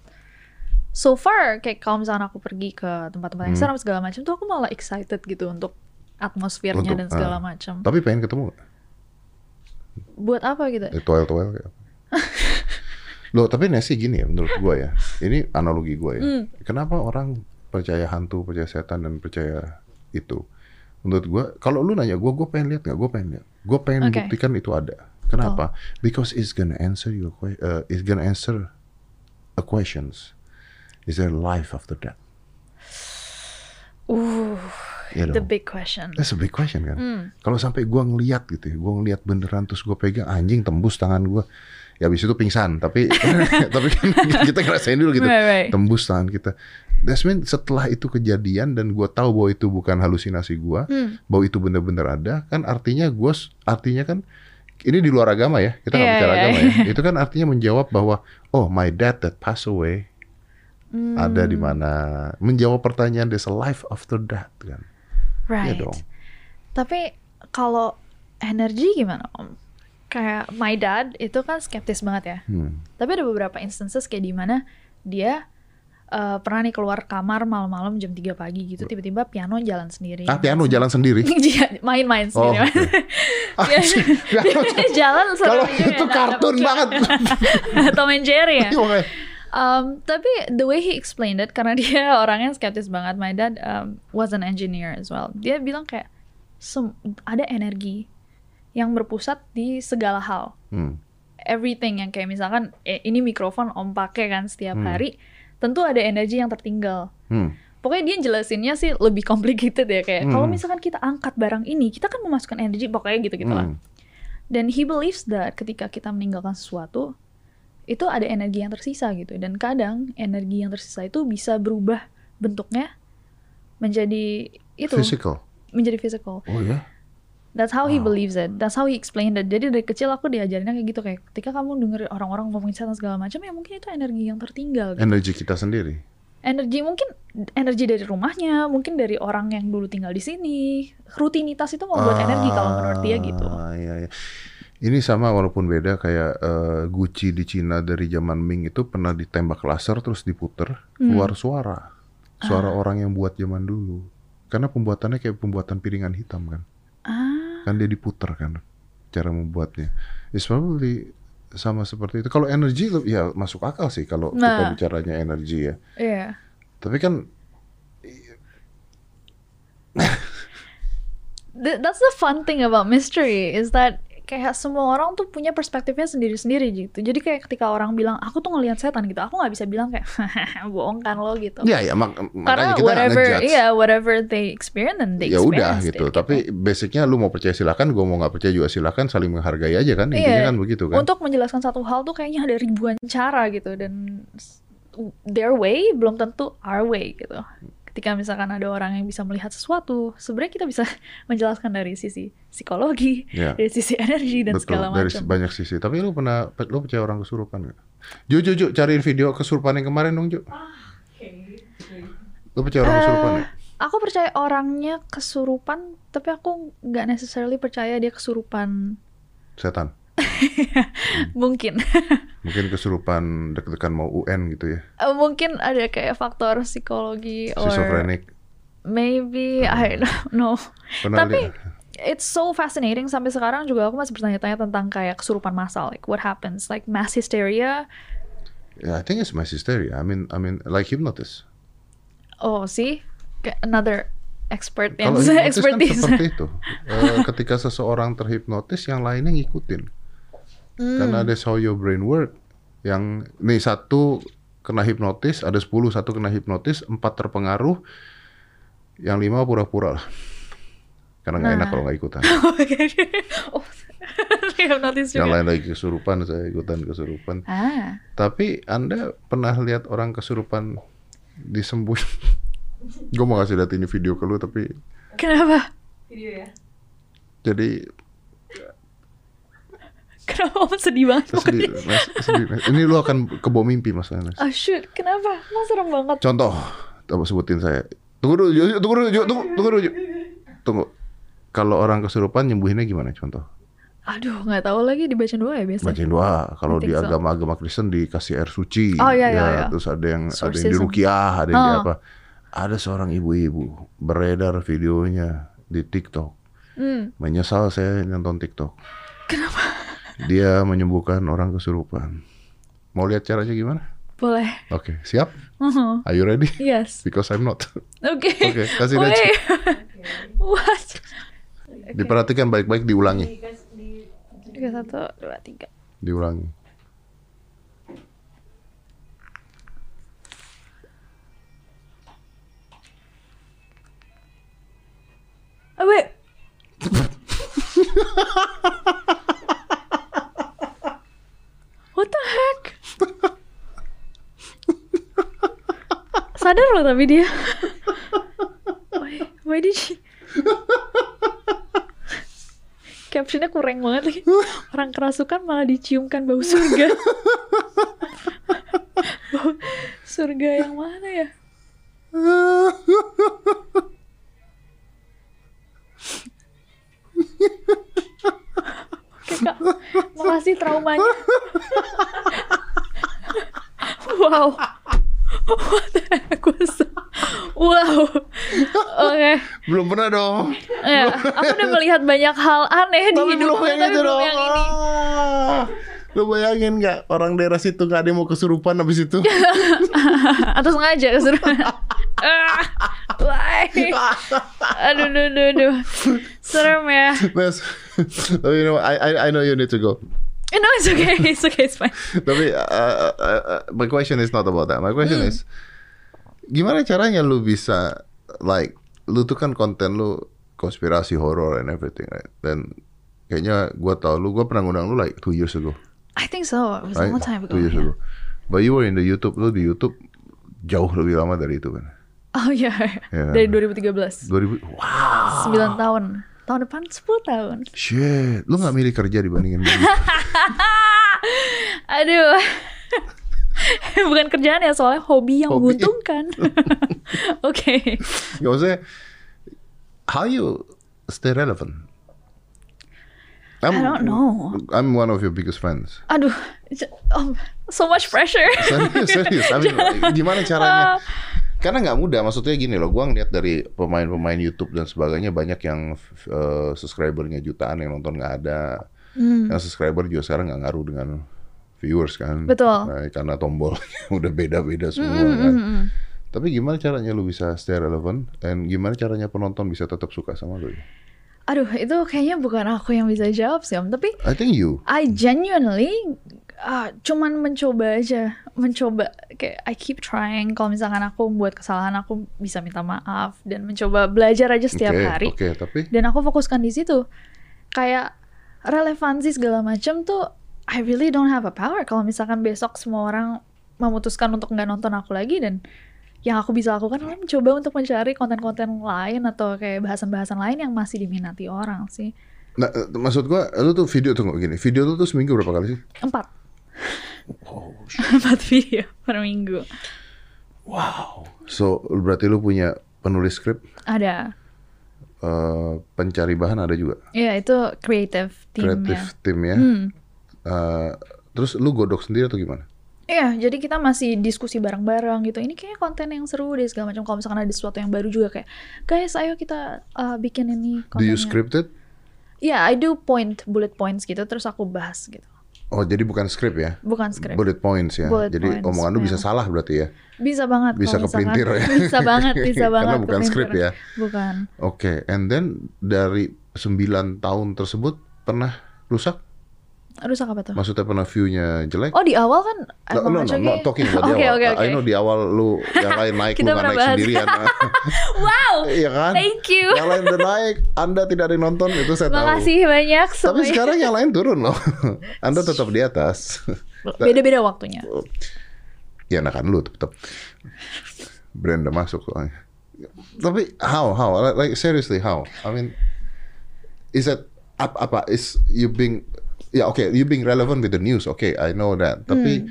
So far, kayak kalau misalnya aku pergi ke tempat-tempat Hmm. yang seram segala macam tuh aku malah excited gitu untuk atmosfernya Untuk, dan segala ah. macam. Tapi pengen ketemu nggak? Buat apa gitu? Eh, toel toel kayak apa? Loh, tapi Nesi gini ya menurut gue ya. Ini analogi gue ya. Hmm. Kenapa orang percaya hantu, percaya setan, dan percaya itu? Menurut gue, kalau lu nanya gue, gue pengen lihat nggak? Gue pengen lihat. Gue pengen Oke. buktikan itu ada. Kenapa? Because it's gonna answer your que- uh, it's gonna answer a questions. Is there life after death? Uh, You the know? big question. That's a big question kan. Hmm. Kalau sampai gua ngeliat gitu, ya, gua ngeliat beneran terus gua pegang anjing tembus tangan gua. Ya habis itu pingsan, tapi tapi kan kita ngerasain dulu gitu. Right, right. Tembus tangan kita. That's mean setelah itu kejadian dan gua tahu bahwa itu bukan halusinasi gua, Hmm. bahwa itu bener-bener ada, kan artinya gua s- artinya kan ini di luar agama ya, kita nggak Iya, bicara iya, agama iya. ya. Itu kan artinya menjawab bahwa oh my dad that passed away Hmm. ada di mana menjawab pertanyaan there's a life after death kan. Iya Right. dong. Tapi kalau energi gimana om? Kayak my dad itu kan skeptis banget ya. Hmm. Tapi ada beberapa instances kayak di mana dia eh, pernah nih keluar kamar malam-malam jam 3 pagi gitu tiba-tiba piano jalan sendiri. Ah, piano jalan sendiri. Iya, main-main Oh. sendiri. Ah, Iya. sih, piano jalan. jalan sendiri. Kalau juga itu enak. kartun banget. Iya. Tom and Jerry ya. Iya, makanya. Um, tapi the way he explained it karena dia orangnya skeptis banget. My dad um, was an engineer as well. Dia bilang kayak "Sem- ada energi yang berpusat di segala hal. Hmm. Everything yang kayak misalkan eh, ini mikrofon om pakai kan setiap hari, tentu ada energi yang tertinggal. Hmm. Pokoknya dia jelasinnya sih lebih complicated ya kayak Hmm. kalau misalkan kita angkat barang ini, kita kan memasukkan energi pokoknya gitu-gitu Gitu lah. Hmm. Dan he believes that ketika kita meninggalkan sesuatu, itu ada energi yang tersisa gitu. Dan kadang energi yang tersisa itu bisa berubah bentuknya menjadi itu, Physical. menjadi physical. Oh ya. That's how he Wow. believes it. That's how he explained it. Jadi dari kecil aku diajarinnya kayak gitu kayak ketika kamu dengerin orang-orang ngomongin setan segala macam ya mungkin itu energi yang tertinggal. Gitu. Energi kita sendiri. Energi mungkin energi dari rumahnya, mungkin dari orang yang dulu tinggal di sini. Rutinitas itu membuat Oh, energi kalau menurut dia gitu. Ah, iya, iya. Ini sama walaupun beda kayak eh, Gucci di Cina dari zaman Ming itu pernah ditembak laser terus diputer Hmm. keluar suara. Ah. Suara orang yang buat zaman dulu. Karena pembuatannya kayak pembuatan piringan hitam kan. Ah, kan dia diputer kan cara membuatnya it's probably sama seperti itu kalau energi le- ya masuk akal sih kalau kita Nah. bicaranya energi ya iya. tapi kan Th- that's the fun thing about mystery is that kayak semua orang tuh punya perspektifnya sendiri-sendiri gitu. Jadi kayak ketika orang bilang aku tuh ngelihat setan gitu, aku nggak bisa bilang kayak bohong kan lo gitu. ya ya mak- Karena makanya kita nggak whatever, ngejudge iya whatever they experience and they ya udah experience it, gitu tapi basicnya lu mau percaya silakan gua mau nggak percaya juga silakan saling menghargai aja kan intinya Iya. kan begitu kan Untuk menjelaskan satu hal tuh kayaknya ada ribuan cara gitu dan s- their way belum tentu our way gitu. Ketika misalkan ada orang yang bisa melihat sesuatu, sebenarnya kita bisa menjelaskan dari sisi psikologi, Iya. dari sisi energi dan betul segala dari macam. banyak sisi tapi lu pernah lu percaya orang kesurupan nggak Ju, Ju, Ju, cariin video kesurupan yang kemarin dong, Ju. Lu percaya orang kesurupan Eh, ya? Aku percaya orangnya kesurupan, tapi aku nggak necessarily percaya dia kesurupan. Setan. Hmm. Mungkin, Mungkin kesurupan deg-degan mau UN gitu ya. Eh, mungkin ada kayak faktor psikologi or Schizophrenic. Hmm. maybe I don't know. Pernah tapi lihat? it's so fascinating sampai sekarang juga aku masih bertanya-tanya tentang kayak kesurupan massal, like what happens, like mass hysteria. Yeah, I think it's mass hysteria. I mean, I mean, like hypnosis. Oh, see, Kayak another expert yang Kalau hipnotis kan expertise. seperti itu. Eh, ketika seseorang terhipnotis, yang lainnya ngikutin. Hmm. Karena ada how your brain work. Yang nih satu kena hipnotis, ada 10 satu kena hipnotis, empat terpengaruh, yang lima pura-pura lah. Karena nggak Nah. enak kalau nggak ikutan. oh, hipnotis Yang juga. lain lagi kesurupan, saya ikutan kesurupan. Ah, Tapi Anda pernah lihat orang kesurupan disembuh? Gue mau kasih lihat ini video ke lu, tapi kenapa? Video ya. jadi Kenapa om sedih banget mukanya? sedih, Mas, sedih. Mas. Ini lu akan kebo mimpi mas Anas. Oh shoot, kenapa? Mas serem banget. Contoh, coba sebutin saya. Tunggu dulu, Ju, tunggu dulu, Ju, tunggu, tunggu dulu, Ju. tunggu. Kalau orang kesurupan nyembuhinnya gimana contoh? Aduh, nggak tahu lagi dibaca doa ya biasa. Bacain doa. Kalau I di think so. agama-agama Kristen dikasih air suci. Ya, Oh, iya, iya, iya. Terus ada yang ada yang Exorcism. dirukiah, ada yang di Oh. apa. Ada seorang ibu-ibu beredar videonya di TikTok. Hmm, Menyesal saya nonton TikTok. kenapa? Dia menyembuhkan orang kesurupan. Mau lihat caranya gimana? Boleh. Oke, siap? Mhm. Are you ready? Yes. Because I'm not. Oke. Oke, kasih lihat. Wait. What? Diperhatikan baik-baik diulangi, Di guys di Tiga, satu, dua, tiga. diulangi. Oh, wait. What the heck? Sadar loh tapi dia. Why, why did she? Captionnya kurang banget lagi. Orang kerasukan malah diciumkan bau surga. bau surga yang mana ya? Kakak, makasih traumanya. wow. What the heck was that? Wow. Oke. Belum pernah dong. Ya, aku udah melihat banyak hal aneh di Tapi belum hidupku, yang tapi itu belum dong. yang ini. Ah. Lu bayangin nggak orang daerah situ nggak ada yang mau kesurupan habis itu? Atau sengaja kesurupan. ah, why? Aduh, aduh, aduh, aduh. Serem ya. Mas, tapi you know, I, I, I know you need to go. Eh, No, it's okay, it's okay, it's fine. Tapi uh, uh, uh, uh, my question is not about that. My question Hmm. is, gimana caranya lu bisa like lu tuh kan konten lu konspirasi horror and everything right? Dan kayaknya gua tau lu, gua pernah ngundang lu like two years ago. I think so. It was a right? long time ago. Two years yeah. ago. But you were in the YouTube, lu di YouTube jauh lebih lama dari itu kan. Oh iya, Yeah. Ah. dari 2013. 2000, wow, 9 tahun. Tahun depan 10 tahun. shit, lu nggak milih kerja dibandingin gue. Aduh. Bukan kerjaan ya, soalnya hobi yang Hobi. menguntungkan. Oke. Gak usah. Ya, How you stay relevant? I'm, I don't know. I'm one of your biggest fans. Aduh. j- um, so much pressure. Serius, serius. I mean, Ah. gimana caranya? Karena nggak mudah. Maksudnya gini loh. Gua ngeliat dari pemain-pemain YouTube dan sebagainya banyak yang eh, subscribernya jutaan yang nonton nggak ada. Hmm. Yang subscriber juga sekarang nggak ngaruh dengan viewers kan. Betul. Hmm, Nah, karena tombol udah beda-beda semua kan. Tapi gimana caranya lu bisa stay relevant and gimana caranya penonton bisa tetap suka sama lu? Aduh, itu kayaknya bukan aku yang bisa jawab sih, Om. Tapi I think you. I genuinely ah, cuman mencoba aja, mencoba kayak I keep trying. Kalau misalkan aku membuat kesalahan, aku bisa minta maaf dan mencoba belajar aja setiap Oke, hari. Oke, tapi dan aku fokuskan di situ kayak relevansi segala macam tuh I really don't have a power kalau misalkan besok semua orang memutuskan untuk nggak nonton aku lagi dan yang aku bisa lakukan adalah mencoba untuk mencari konten-konten lain atau kayak bahasan-bahasan lain yang masih diminati orang sih nah, eh, maksud gua lu tuh video tunggu gini. Video lu tuh seminggu berapa kali sih? empat empat video per minggu So, berarti lu punya penulis skrip, ada eh, pencari bahan ada juga. ya itu creative Kreatif teamnya tim ya. Hmm. Eh, terus lu godok sendiri atau gimana? Iya, jadi kita masih diskusi bareng-bareng gitu. Ini kayaknya konten yang seru deh segala macam. Kalau misalkan ada sesuatu yang baru juga kayak, guys, ayo kita uh, bikin ini Do kontennya." you script it? Iya, I do point bullet points gitu. Terus aku bahas gitu. Oh jadi bukan skrip ya? bukan skrip. Bullet points ya. Bullet jadi points, omongan lu bisa memang. salah berarti ya. Bisa banget. kalau Bisa misalkan- kepelintir ya. Bisa banget, bisa Karena banget. bukan kepelintir. skrip ya. Bukan. Oke, and then dari 9 tahun tersebut pernah rusak? Rusak apa tuh? Maksudnya pernah view-nya jelek? Oh di awal kan No, no, no, Acoge- not talking about di Oke, awal. Nah, oke, oke. I know di awal lu yang lain naik, lu Kita gak pernah naik bahas. sendirian. Wow. Iya kan? Thank you. Yang lain udah naik, Anda tidak ada yang nonton, itu saya tahu. Makasih banyak Tapi semuanya. sekarang yang lain turun loh. Anda tetap di atas. Beda-beda waktunya. ya enakan lu tetap. Brand udah masuk soalnya. Tapi how how like, like, seriously how? I mean is that ap, apa is you being ya oke you being relevant with the news. Oke, I know that. Hmm. Tapi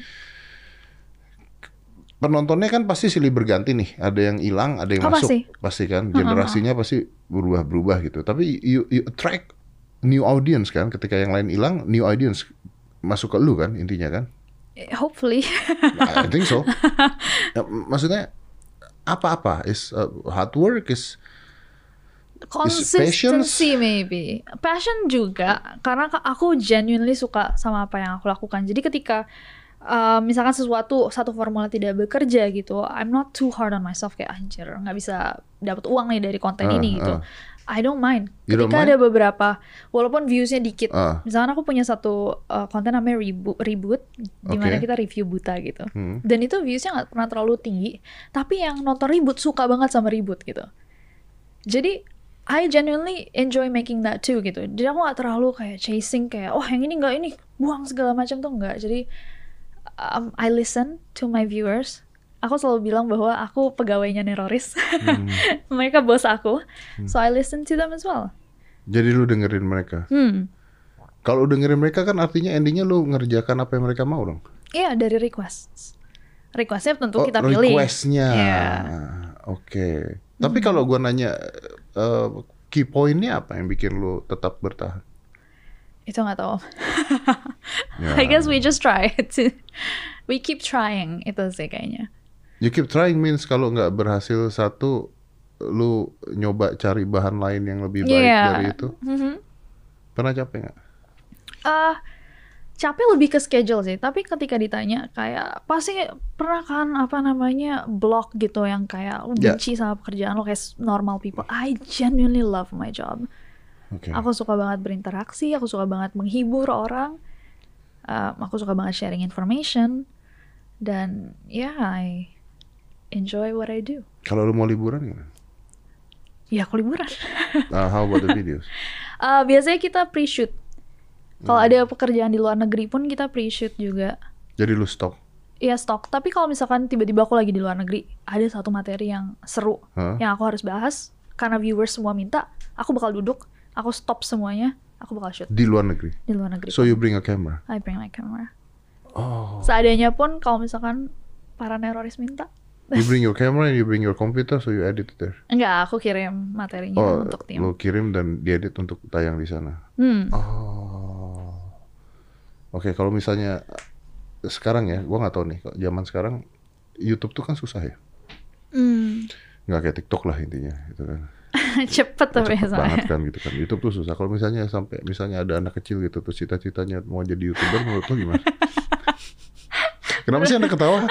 penontonnya kan pasti silih berganti nih. Ada yang hilang, ada yang Oh, masuk. pasti. kan generasinya pasti berubah-berubah gitu. Tapi you you attract new audience kan ketika yang lain hilang, new audience masuk ke lu kan intinya kan? Eh, Hopefully. I think so. Ya, m- Maksudnya apa-apa is uh, hard work is Consistency maybe. Passion juga karena ka- aku genuinely suka sama apa yang aku lakukan. Jadi ketika uh, misalkan sesuatu satu formula tidak bekerja gitu, I'm not too hard on myself kayak anjir nggak bisa dapat uang nih dari konten Ah, ini gitu. ah. I don't mind. You don't Ketika ada beberapa walaupun viewsnya dikit. Ah. Misalkan aku punya satu uh, konten namanya Rebo- reboot, dimana Oke. kita review buta gitu. Hmm. Dan itu viewsnya nggak pernah terlalu tinggi, tapi yang nonton ribut suka banget sama ribut gitu. Jadi I genuinely enjoy making that too gitu. Jadi aku nggak terlalu kayak chasing kayak oh yang ini nggak ini buang segala macam tuh nggak. Jadi um, I listen to my viewers. Aku selalu bilang bahwa aku pegawainya Neroris. Hmm. Mereka bos aku. So I listen to them as well. Jadi lu dengerin mereka. Hmm. Kalau lu dengerin mereka kan artinya endingnya lu ngerjakan apa yang mereka mau dong. Iya dari request. Requestnya tentu Oh, kita pilih. requestnya. Iya. Oke. Tapi kalau gua nanya eh, key point-nya apa yang bikin lu tetap bertahan? Itu nggak tahu. Ya. I guess we just try. to- we keep trying itu sih kayaknya. You keep trying means kalau nggak berhasil satu, lu nyoba cari bahan lain yang lebih baik Iya. dari itu. Mhm. Pernah capek nggak? Ah, capek lebih ke schedule sih. Tapi ketika ditanya kayak pasti pernah kan apa namanya blog gitu yang kayak lu Ya. benci sama pekerjaan lo kayak normal people. I genuinely love my job. Oke. Aku suka banget berinteraksi. Aku suka banget menghibur orang. Um, aku suka banget sharing information. Dan yeah, I enjoy what I do. Kalau lu mau liburan gimana? Ya aku liburan. Uh, how about the videos? Eh, biasanya kita pre-shoot. Kalau Hmm. ada pekerjaan di luar negeri pun kita pre-shoot juga. Jadi lu stok. Iya stok. Tapi kalau misalkan tiba-tiba aku lagi di luar negeri, ada satu materi yang seru Hah? yang aku harus bahas karena viewers semua minta, aku bakal duduk, aku stop semuanya, aku bakal shoot Di luar negeri. di luar negeri. So you bring a camera. I bring my camera. Oh. Seadanya pun kalau misalkan para teroris minta, You bring your camera and you bring your computer so you edit it there. enggak aku kirim materinya Oh, Ya, untuk tim. lu kirim dan diedit untuk tayang di sana. Hmm. Oh. Oke, kalau misalnya sekarang ya, gua nggak tahu nih, kalau zaman sekarang YouTube tuh kan susah ya. Hmm. Nggak kayak TikTok lah intinya, gitu kan. Cepet tapi ya, Cepet banget soalnya. kan gitu kan. YouTube tuh susah. Kalau misalnya sampai misalnya ada anak kecil gitu terus cita-citanya mau jadi YouTuber menurut lu gimana? Kenapa sih Anda ketawa?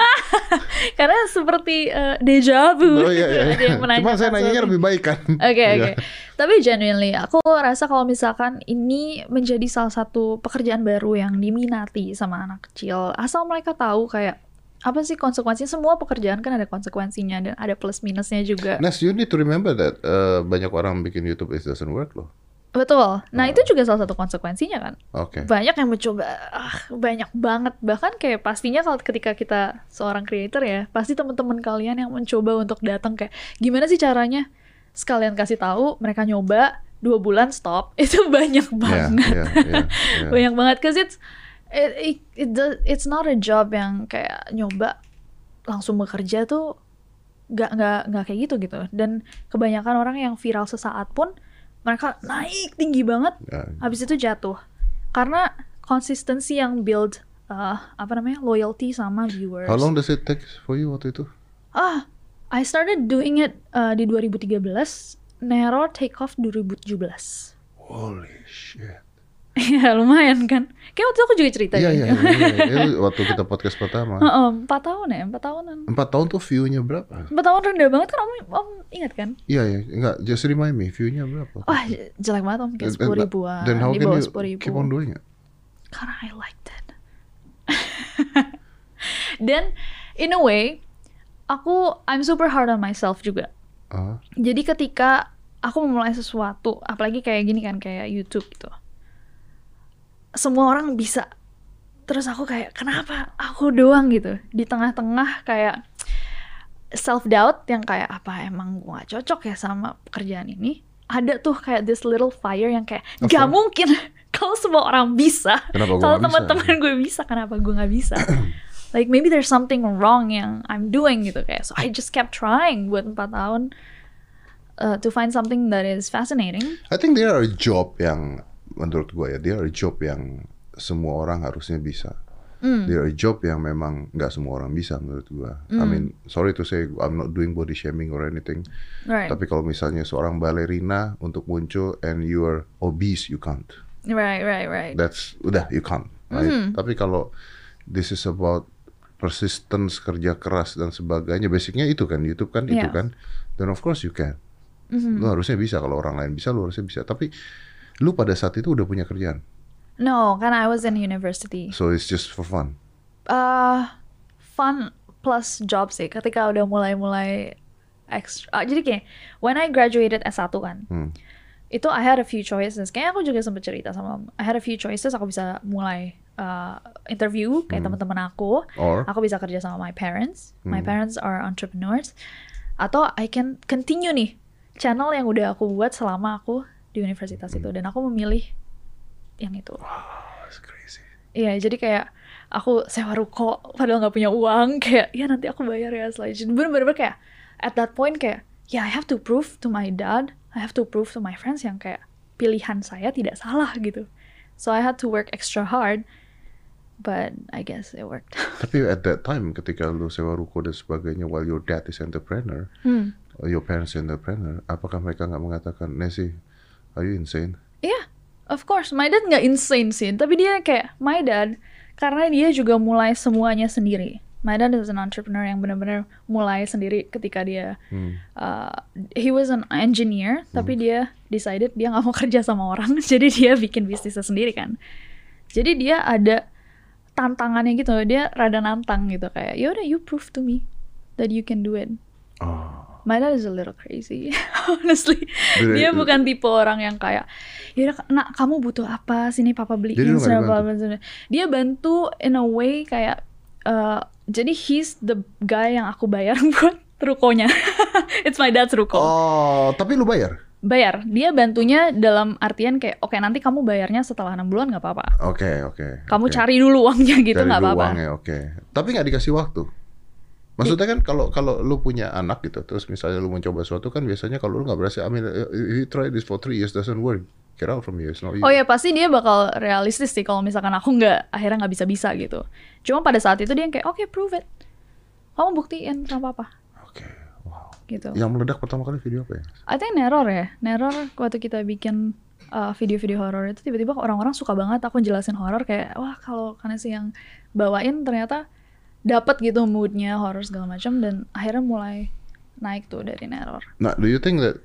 Karena seperti eh, deja vu. Oh iya, iya. Ada yang Cuma menanyakan saya nanyanya sesuatu. lebih baik kan. Oke Iya. oke. Tapi genuinely aku rasa kalau misalkan ini menjadi salah satu pekerjaan baru yang diminati sama anak kecil, asal mereka tahu kayak apa sih konsekuensinya. Semua pekerjaan kan ada konsekuensinya dan ada plus minusnya juga. Nes, you need to remember that eh, banyak orang bikin YouTube it doesn't work loh. Betul. Nah, itu juga salah satu konsekuensinya kan. Oke. Banyak yang mencoba, ah, banyak banget. Bahkan kayak pastinya kalau ketika kita seorang creator ya, pasti teman-teman kalian yang mencoba untuk datang kayak gimana sih caranya? Sekalian kasih tahu, mereka nyoba dua bulan stop. Itu banyak Ya, banget. ya, ya, ya. banyak banget cause it's it, it, it does- it's not a job yang kayak nyoba langsung bekerja tuh nggak nggak nggak kayak gitu gitu dan kebanyakan orang yang viral sesaat pun mereka naik tinggi banget Ya. habis itu jatuh karena konsistensi yang build uh, apa namanya loyalty sama viewers How long does it take for you waktu itu? ah I started doing it uh, di 2013 Nero take off 2017 Holy shit. ya lumayan kan. Kayak waktu itu aku juga cerita Iya, deh. iya, iya, iya. Itu Waktu kita podcast pertama. Heeh, empat tahun ya, empat tahunan. Empat tahun tuh view-nya berapa? Empat tahun rendah banget kan om, om ingat kan? Iya, iya. Enggak, just remind me, view-nya berapa? Wah jelek banget om, kayak And- sepuluh and- ribuan, Then how di can bawah you sepuluh ribu. keep on doing it? Karena I like that. Dan in a way, aku I'm super hard on myself juga. Ah, Jadi ketika aku memulai sesuatu, apalagi kayak gini kan, kayak YouTube gitu. Semua orang bisa. Terus aku kayak, kenapa aku doang gitu? Di tengah-tengah kayak self-doubt yang kayak, apa emang gua gak cocok ya sama pekerjaan ini? Ada tuh kayak this little fire yang kayak, Of gak course. mungkin kalau semua orang bisa. Kenapa gua Kalau nggak bisa?" teman-teman gue bisa, kenapa gue gak bisa? like maybe there's something wrong yang I'm doing gitu kayak so I just kept trying buat 4 tahun uh, to find something that is fascinating I think they are a job yang menurut gua ya, they are a job yang semua orang harusnya bisa. They are a job yang memang nggak semua orang bisa menurut gua. I mean, sorry to say, I'm not doing body shaming or anything. right Tapi kalau misalnya seorang balerina untuk muncul and you are obese, you can't. right right right That's udah you can't. right? Mm-hmm. Tapi kalau this is about persistence, kerja keras dan sebagainya, basicnya itu kan YouTube kan itu Yeah. kan. Then of course you can. Mm-hmm. Lu harusnya bisa kalau orang lain bisa, lu harusnya bisa. Tapi lu pada saat itu udah punya kerjaan. no karena I was in university So it's just for fun. uh, fun plus job sih ketika udah mulai-mulai extra ah, jadi kayak when I graduated S1 kan Hmm. itu I had a few choices kayaknya aku juga sempat cerita sama om. I had a few choices aku bisa mulai uh, interview kayak teman-teman aku Or aku bisa kerja sama my parents my parents are entrepreneurs atau I can continue nih channel yang udah aku buat selama aku di universitas itu dan aku memilih yang itu That's crazy. iya jadi kayak aku sewa ruko padahal nggak punya uang kayak ya nanti aku bayar ya selanjutnya bener-bener kayak at that point kayak ya I have to prove to my dad I have to prove to my friends yang kayak pilihan saya tidak salah gitu so I had to work extra hard but I guess it worked Tapi at that time ketika lu sewa ruko dan sebagainya while your dad is entrepreneur, hmm. or your parents entrepreneur, apakah mereka nggak mengatakan, Nessie, are you insane? Iya, of course. My dad nggak insane sih, tapi dia kayak my dad karena dia juga mulai semuanya sendiri. My dad is an entrepreneur yang benar-benar mulai sendiri ketika dia Hmm. uh, he was an engineer, tapi dia decided dia nggak mau kerja sama orang, jadi dia bikin bisnisnya sendiri kan. Jadi dia ada tantangannya gitu, dia rada nantang gitu kayak, yaudah you prove to me that you can do it. Oh. My dad is a little crazy, honestly. Jadi- dia bukan tipe orang yang kayak, ya nak kamu butuh apa sini papa Jadi beliin lu nggak sudah bla dibantu? bla bla." Dia bantu in a way kayak, eh, jadi he's the guy yang aku bayar buat rukonya. It's my dad's ruko. Oh, tapi lu bayar? Bayar. Dia bantunya dalam artian kayak, oke nanti kamu bayarnya setelah enam bulan nggak apa-apa. Oke, oke. Kamu oke. cari dulu uangnya gitu Cari nggak dulu apa-apa. uangnya, oke. Tapi nggak dikasih waktu. Maksudnya kan kalau kalau lu punya anak gitu, terus misalnya lu mencoba sesuatu kan biasanya kalau lu nggak berhasil, I mean, if you try this for three years doesn't work, get out from here, it's not you. Oh ya pasti dia bakal realistis sih kalau misalkan aku nggak akhirnya nggak bisa-bisa gitu. Cuma pada saat itu dia yang kayak oke prove it, kamu buktiin sama apa Oke, wow. gitu. Yang meledak pertama kali video apa ya? I think neror ya, neror waktu kita bikin uh, video-video horor itu tiba-tiba orang-orang suka banget aku jelasin horor kayak wah kalau karena sih yang bawain ternyata dapat gitu moodnya horor segala macam dan akhirnya mulai naik tuh dari neror. Nah, do you think that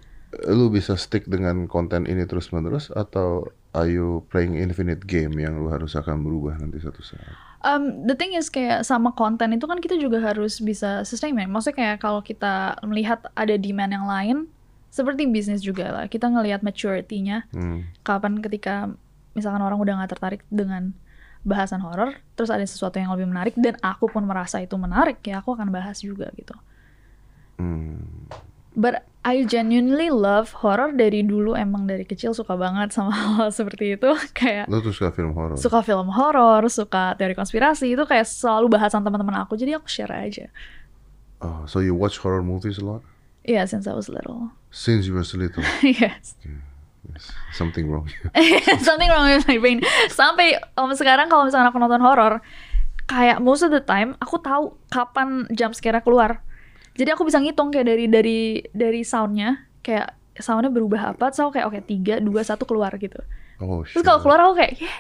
lu bisa stick dengan konten ini terus menerus atau are you playing infinite game yang lu harus akan berubah nanti satu saat? Um, the thing is kayak sama konten itu kan kita juga harus bisa sustain man. Maksudnya kayak kalau kita melihat ada demand yang lain, seperti bisnis juga lah. Kita ngelihat maturity-nya Hmm. kapan ketika misalkan orang udah nggak tertarik dengan bahasan horor, terus ada sesuatu yang lebih menarik dan aku pun merasa itu menarik ya aku akan bahas juga gitu. Hmm. But I genuinely love horor dari dulu emang dari kecil suka banget sama hal seperti itu kayak Lu tuh suka film horor? suka film horor, suka teori konspirasi itu kayak selalu bahasan teman-teman aku jadi aku share aja. Oh, so you watch horror movies a lot? Yeah, Iya, since I was little. Since you were so little, yes. yes. something wrong. Eh, Something wrong with my brain. Sampai um, sekarang kalau misalnya aku nonton horor, kayak most of the time aku tahu kapan jam scare keluar. Jadi aku bisa ngitung kayak dari dari dari soundnya, kayak soundnya berubah apa, so kayak oke tiga dua satu keluar gitu. Oh, Terus kalau keluar aku kayak, yeah,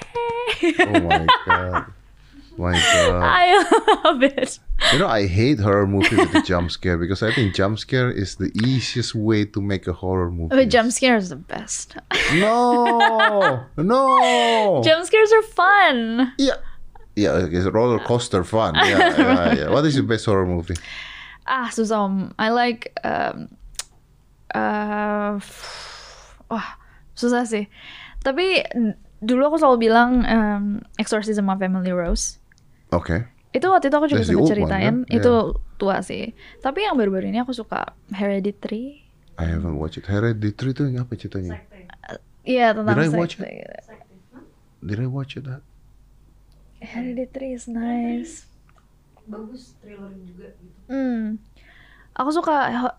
Oh my god. My god. I love it. You know, I hate horror movies with a jump scare because I think jump scare is the easiest way to make a horror movie. But jump scares are the best. No, no. jump scares are fun. yeah, yeah. It's roller coaster fun. Yeah, yeah, yeah. What is your best horror movie? Ah, susah. Om. I like um, uh, wah, susah sih. Tapi n- dulu aku selalu bilang um, Exorcism of Emily Rose. Okay. Itu waktu itu aku juga That's sempat the old one, ceritain. kan? Itu tua sih. Tapi yang baru-baru ini aku suka Hereditary. I haven't watched it. Ah, Hereditary itu apa ceritanya? Iya, tentang Did I sekte watch it? gitu. Did I watch it? That? Hereditary is nice. bagus thriller juga gitu Hmm. Aku suka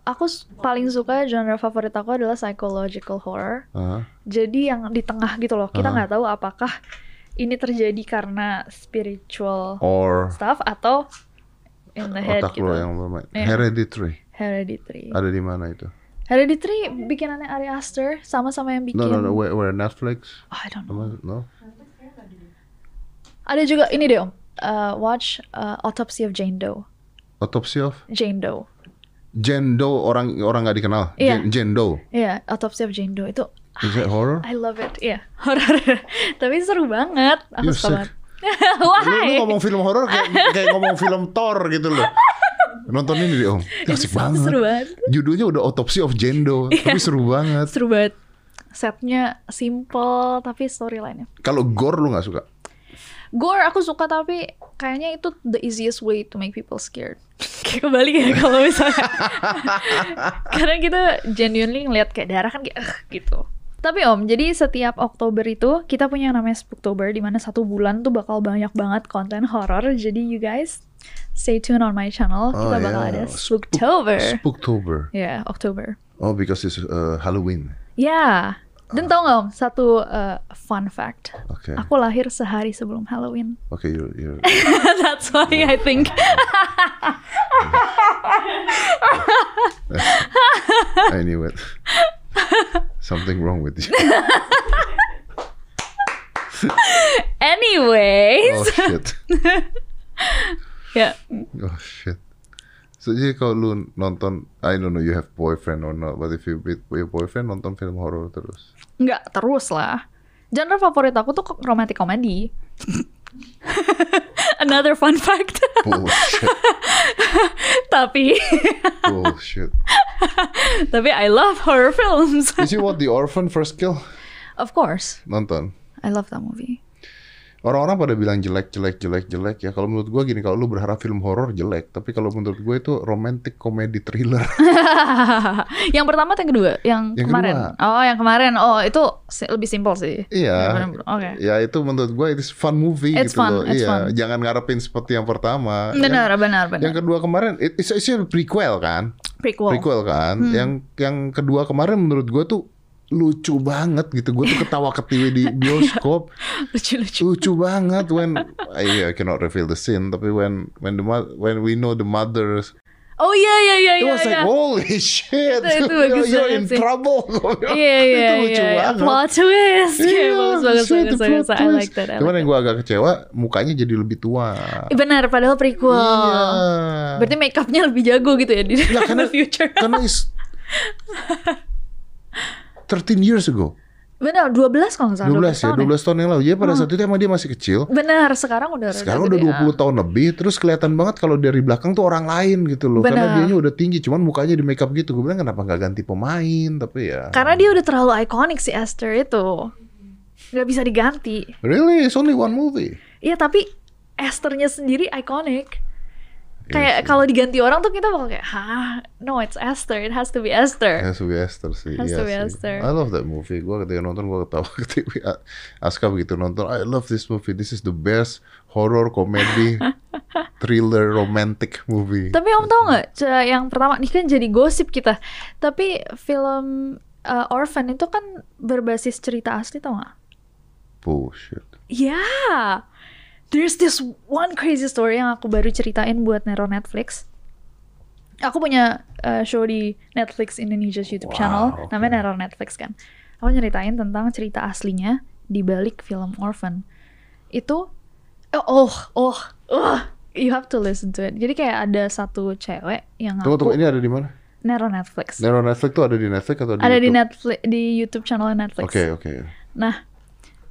aku s- paling suka genre favorit aku adalah psychological horror. Uh-huh. Jadi yang di tengah gitu loh. Kita Ah. nggak tahu apakah ini terjadi karena spiritual Or stuff atau in the head otak gitu. lo yang bermain. Iya. Hereditary. Hereditary. Ada di mana itu? Hereditary bikinannya Ari Aster sama-sama yang bikin. No, no, no. Where, where Netflix? Oh, I don't know. Apa? No. Ada juga ini deh Om. Uh, watch uh, Autopsy of Jane Doe. Autopsy of Jane Doe. Jane Doe orang orang nggak dikenal. Iya. Jane, Jane Doe. Iya, Autopsy of Jane Doe itu Is that horror? I love it, iya horor. Tapi seru banget, aku You're suka sick. banget. Lu, lu Why? ngomong film horor kayak, kayak ngomong film Thor gitu loh. Nonton ini deh om. Ya, Asik banget. Seru Iya. banget, Judulnya udah Autopsy of Jane Doe, tapi seru banget. seru banget. Setnya simple tapi storyline-nya. Kalau gore lu nggak suka? Gore aku suka tapi kayaknya itu the easiest way to make people scared. kayak kebalik ya kalau misalnya. Karena kita genuinely ngeliat kayak darah kan kayak "Ugh," gitu. Tapi Om, jadi setiap Oktober itu kita punya yang namanya Spooktober di mana satu bulan tuh bakal banyak banget konten horor. Jadi you guys stay tuned on my channel. Oh, Kita bakal yeah. ada Spook- Spooktober. Spooktober. Ya, Oktober. Oh, because it's uh, Halloween. Ya. Dan tau gak om, satu eh, fun fact. Oke. Aku lahir sehari sebelum Halloween. Oke, you're, you're That's why I think. I knew it. Something wrong with you. Anyways. Oh shit. Ya. Oh shit. So jadi kalau lu nonton, I don't know you have boyfriend or not, but if you with your boyfriend nonton film horor terus. Nggak terus lah. Genre favorit aku tuh romantic comedy. Another fun fact. Bullshit, tapi, bullshit. tapi I love horror films. Did you watch The Orphan First Kill? of course. Nonton. I love that movie. Orang-orang pada bilang jelek, jelek, jelek, jelek ya. Kalau menurut gua gini, kalau lu berharap film horor jelek, tapi kalau menurut gue itu romantic comedy thriller. yang pertama atau yang kedua? Yang, Yang kemarin? kedua. Oh, yang kemarin. Oh, itu si- lebih simple sih. Iya. Oke. Ya itu menurut gue itu fun movie It's gitu fun, loh. it's iya. fun. Jangan ngarepin seperti yang pertama. Benar, Yang- benar, benar. Yang kedua kemarin it- it's, it's a prequel kan? prequel. Hmm. Prequel kan? Yang yang kedua kemarin menurut gue tuh lucu banget gitu. Gue tuh ketawa ketiwi di bioskop. Lucu-lucu. lucu banget when I, I cannot reveal the scene tapi when when the mo- when we know the mothers Oh iya iya iya it iya. was iya. like holy shit Itu- itu you're, bagus you're banget in sih. trouble Gua bilang, Iya iya itu lucu iya. iya. banget Plot twist. Iya, Iya, bagus bagus shit, bagus the bagus. plot I twist. like that. I Cuman like yang gue agak kecewa, mukanya jadi lebih tua. that. Benar, padahal prequel. Iya. Berarti makeupnya lebih jago gitu ya di Nah, in the future. karena is 13 years ago. Benar, 12 kalau nggak salah. 12 ya, tahun Ah. 12 tahun yang lalu. Jadi pada saat itu emang dia masih kecil. Benar, sekarang udah rada Sekarang gede, udah 20 tahun lebih, terus kelihatan banget kalau dari belakang tuh orang lain gitu loh. Karena Benar. dianya udah tinggi, cuman mukanya di makeup gitu. Gue bilang kenapa nggak ganti pemain, tapi ah. ya. Karena dia udah terlalu ikonik si Esther itu. Nggak bisa diganti. Really, it's only one movie. Iya, tapi Esthernya sendiri ikonik. Iya Kayak kalau diganti orang tuh kita bakal kayak, hah, no it's Esther, it has to be Esther. Has to be Esther Eh, sih. Has iya to be sih. Esther. I love that movie. Gue ketika nonton gue ketawa ketika Aska begitu nonton. I love this movie. This is the best horror comedy thriller romantic movie. Tapi om tau nggak ce- yang pertama ini kan jadi gosip kita. Tapi film uh, Orphan itu kan berbasis cerita asli tau nggak? Bullshit. Yeah. There's this one crazy story yang aku baru ceritain buat Nero Netflix. Aku punya uh, show di Netflix Indonesia's YouTube Wow, channel, oke. namanya Nero Netflix kan. Aku nyeritain tentang cerita aslinya di balik film Orphan itu eh, oh oh oh you have to listen to it. Jadi kayak ada satu cewek yang Tunggu tunggu ngaku ini ada di mana? Nero Netflix. Nero Netflix tuh ada di Netflix atau di ada di YouTube? Netflix di YouTube channel Netflix. Oke oke. Nah,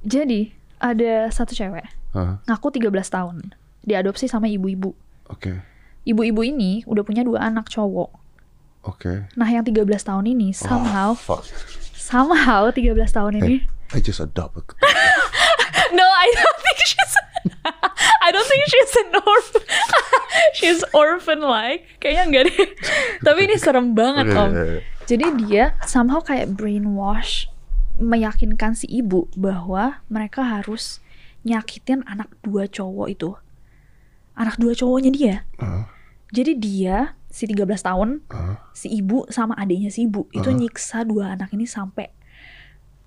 jadi ada satu cewek Hah, ngaku 13 tahun. Diadopsi sama ibu-ibu. Oke Ibu-ibu ini udah punya dua anak cowok. oke. Nah, yang 13 tahun ini somehow somehow 13 tahun ini Hey, Ah, I just adopt. a- No, I don't think she's I don't think she's an orphan. she's orphan like. Kayaknya enggak deh. Tapi ini serem banget, Oke, Om. iya, iya. Jadi dia somehow kayak brainwash meyakinkan si ibu bahwa mereka harus nyakitin anak dua cowok itu. Anak dua cowoknya dia. Ah, Jadi dia si 13 tahun, ah. si ibu sama adiknya si ibu itu nyiksa dua anak ini sampai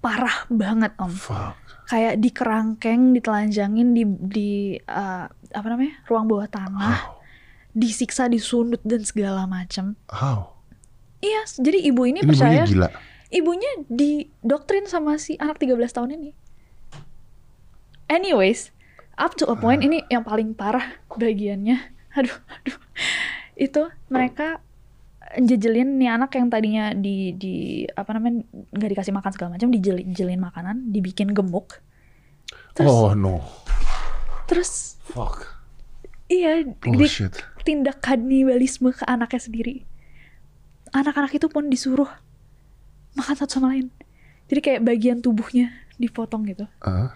parah banget, Om Fuck. kayak dikerangkeng, ditelanjangin di di eh, apa namanya ruang bawah tanah, disiksa, disundut dan segala macam. How? Iya, jadi ibu ini, Ini percaya ibunya gila. ibunya didoktrin sama si anak 13 tahun ini. Anyways, up to a point ini yang paling parah bagiannya. Aduh, aduh. Itu mereka jejelin nih anak yang tadinya di di apa namanya nggak dikasih makan segala macam dijelin makanan dibikin gemuk terus Oh no. terus Fuck. iya Oh, di, Bullshit. tindak kanibalisme ke anaknya sendiri anak-anak itu pun disuruh makan satu sama lain jadi kayak bagian tubuhnya dipotong gitu Ah,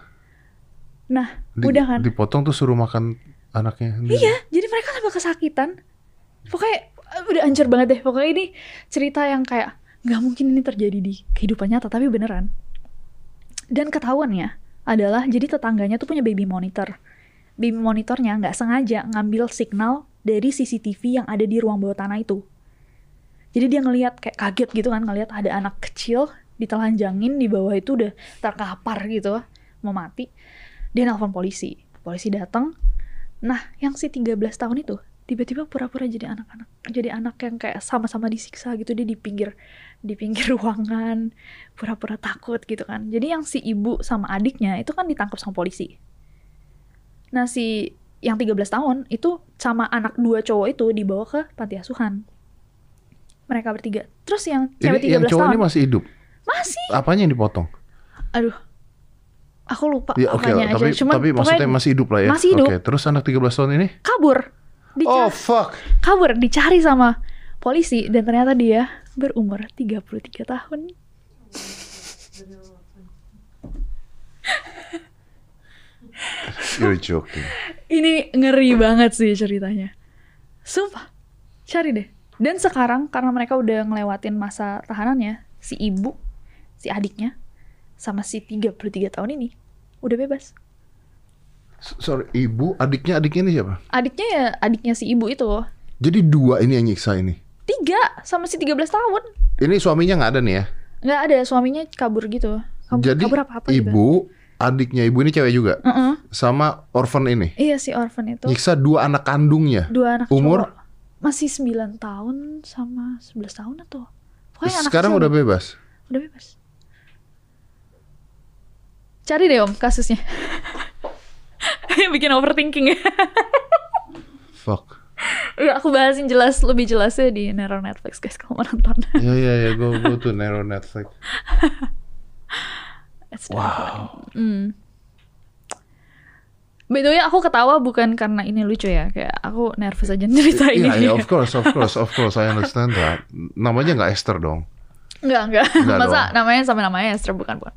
nah di- udah kan Dipotong tuh suruh makan anaknya. sendiri. iya jadi mereka tambah kesakitan pokoknya eh, udah anjir banget deh pokoknya ini cerita yang kayak nggak mungkin ini terjadi di kehidupan nyata tapi beneran dan ketahuannya adalah jadi tetangganya tuh punya baby monitor baby monitornya nggak sengaja ngambil signal dari CCTV yang ada di ruang bawah tanah itu jadi dia ngelihat kayak kaget gitu kan ngelihat ada anak kecil ditelanjangin di bawah itu udah terkapar gitu mau mati dia nelpon polisi polisi datang nah yang si 13 tahun itu tiba-tiba pura-pura jadi anak-anak jadi anak yang kayak sama-sama disiksa gitu dia di pinggir di pinggir ruangan pura-pura takut gitu kan jadi yang si ibu sama adiknya itu kan ditangkap sama polisi nah si yang 13 tahun itu sama anak dua cowok itu dibawa ke panti asuhan mereka bertiga terus yang Ini cewek 13 yang cowok tahun ini masih hidup. masih Apanya yang dipotong? aduh aku lupa Ya oke, apanya tapi aja cuman tapi pokoknya maksudnya masih hidup lah ya. Masih hidup. Oke, terus anak 13 tahun ini? kabur Oh Dicari- fuck. kabur dicari sama polisi dan ternyata dia berumur 33 tahun You're joking. ini ngeri banget sih ceritanya sumpah cari deh dan sekarang karena mereka udah ngelewatin masa tahanannya si ibu si adiknya sama si 33 tahun ini udah bebas S- Sorry, ibu, adiknya, adiknya ini siapa? adiknya ya adiknya si ibu itu Jadi dua ini yang nyiksa ini. tiga sama si 13 tahun Ini suaminya nggak ada nih ya. nggak ada suaminya kabur gitu Kabur- Jadi kabur apa-apa gitu. ibu, adiknya ibu ini cewek juga, Heeh. sama orphan ini. Iya si orphan itu Nyiksa dua anak kandungnya. dua anak Umur? cowok. masih 9 tahun sama 11 tahun atau pokoknya anak Sekarang kecil udah bebas. udah bebas. Cari deh om kasusnya. Bikin overthinking ya. Fuck. Udah, aku bahasin jelas lebih jelasnya di Nero Netflix guys kalau mau nonton. Ya ya ya, gue gue tuh narrow Netflix. wow. Hmm. By the way, aku ketawa bukan karena ini lucu ya. Kayak aku nervous aja cerita ini. Iya ya, of course, of course, of course, I understand that. Namanya nggak Esther dong. Enggak, enggak. Enggak Masa dong. namanya sama namanya Esther bukan, bukan.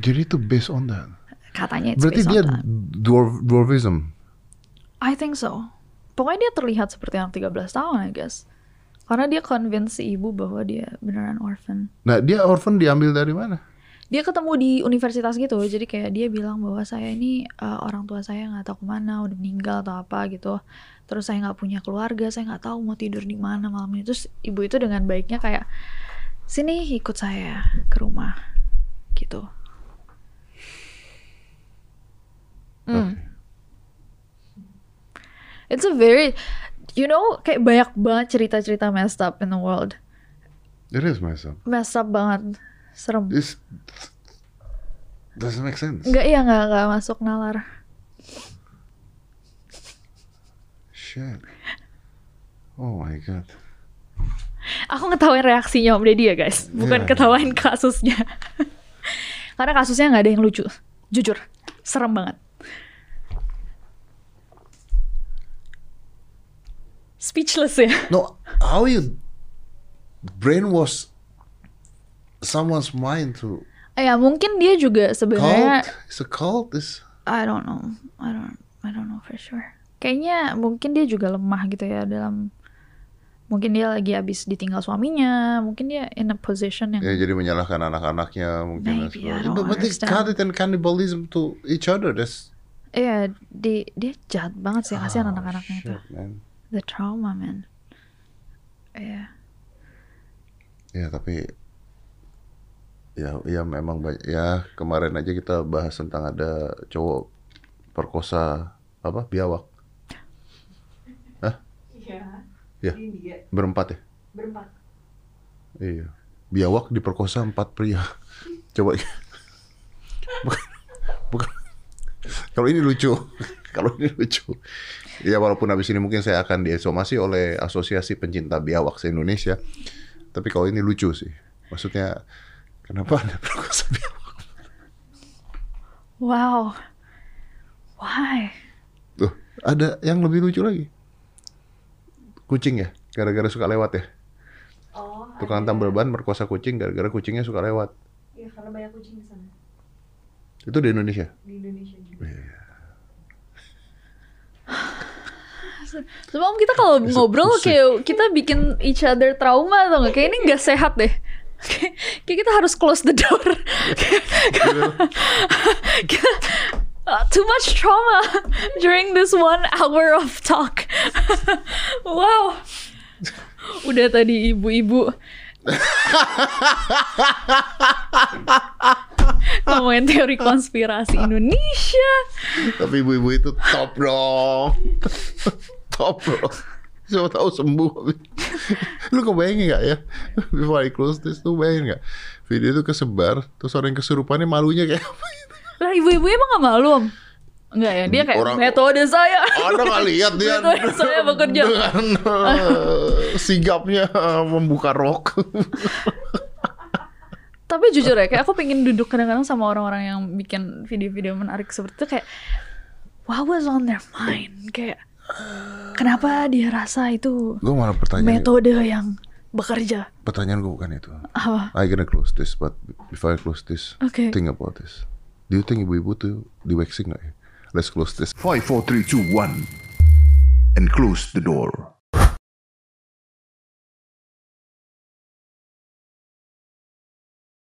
Jadi itu based on that. Katanya it's Berarti based on dia that. dwarf, dwarfism. I think so. Pokoknya dia terlihat seperti anak 13 tahun, I guess. Karena dia convince si ibu bahwa dia beneran orphan. Nah dia orphan diambil dari mana? Dia ketemu di universitas gitu, jadi kayak dia bilang bahwa saya ini uh, orang tua saya nggak tahu kemana, udah meninggal atau apa gitu. Terus saya nggak punya keluarga, saya nggak tahu mau tidur di mana malam ini. Terus ibu itu dengan baiknya kayak sini ikut saya ke rumah gitu. Hmm. It's a very, you know, kayak banyak banget cerita-cerita messed up in the world. It is my son. Messed up banget, serem. It's Doesn't make sense. Enggak ya enggak enggak masuk nalar. Shit. Oh my god. Aku ngetawain reaksinya Om Deddy ya guys, bukan Iya. ketawain kasusnya. Karena kasusnya nggak ada yang lucu, jujur, serem banget. Speechless ya. No, how you brainwash someone's mind to Ya mungkin dia juga sebenarnya cult? It's a cult. It's I don't know. I don't I don't know for sure. Kayaknya mungkin dia juga lemah gitu ya dalam mungkin dia lagi habis ditinggal suaminya, mungkin dia in a position yang ya jadi menyalahkan anak-anaknya mungkin. dan Maybe, I sebagainya. don't But, but they understand. cut it and cannibalism to each other. That's Iya, di dia jahat banget sih kasihan anak-anaknya Oh, shit, itu. man. The trauma man. Iya. Ya tapi ya ya memang banyak ya kemarin aja kita bahas tentang ada cowok perkosa apa biawak Iya. Iya. Ini dia berempat ya berempat. iya biawak diperkosa empat pria coba bukan, bukan. kalau ini lucu kalau ini lucu ya walaupun habis ini mungkin saya akan diesomasi oleh asosiasi pencinta biawak se Indonesia tapi kalau ini lucu sih maksudnya kenapa ada perkosa biawak Wow. Why? Tuh, ada yang lebih lucu lagi. Kucing ya, gara-gara suka lewat ya. Oh, Tukang ada. tambal ban merkosa kucing gara-gara kucingnya suka lewat. Iya, karena banyak kucing di sana Itu di Indonesia. di Indonesia juga. Sebelum kita kalau ngobrol kayak kita bikin each other trauma atau nggak? Kayak ini nggak sehat deh. Kayak- Kayak kita harus close the door. Kayak- kita- uh, too much trauma during this one hour of talk. wow. Udah tadi ibu-ibu ngomongin teori konspirasi Indonesia. Tapi ibu-ibu itu top dong. top dong. Siapa tahu sembuh. Lu kebayangin gak ya? Before I close this, lu bayangin gak? Video itu kesebar, terus orang yang kesurupannya malunya kayak apa gitu. Lah ibu-ibu emang gak malu om? Enggak ya, dia kayak Orang- metode saya. Oh, Anda gak lihat dia Metode saya bekerja. dengan eh, sigapnya eh, membuka rok. Tapi jujur ya, kayak aku pengen duduk kadang-kadang sama orang-orang yang bikin video-video menarik seperti itu kayak what was on their mind? Kayak kenapa dia rasa itu gue malah pertanyaan metode yang bekerja? pertanyaan gue bukan itu. Apa? I gonna close this, but before I close this, Okay. think about this. Do you think ibu-ibu tuh di waxing nggak ya? Let's close this. 5, 4, 3, 2, 1. And close the door.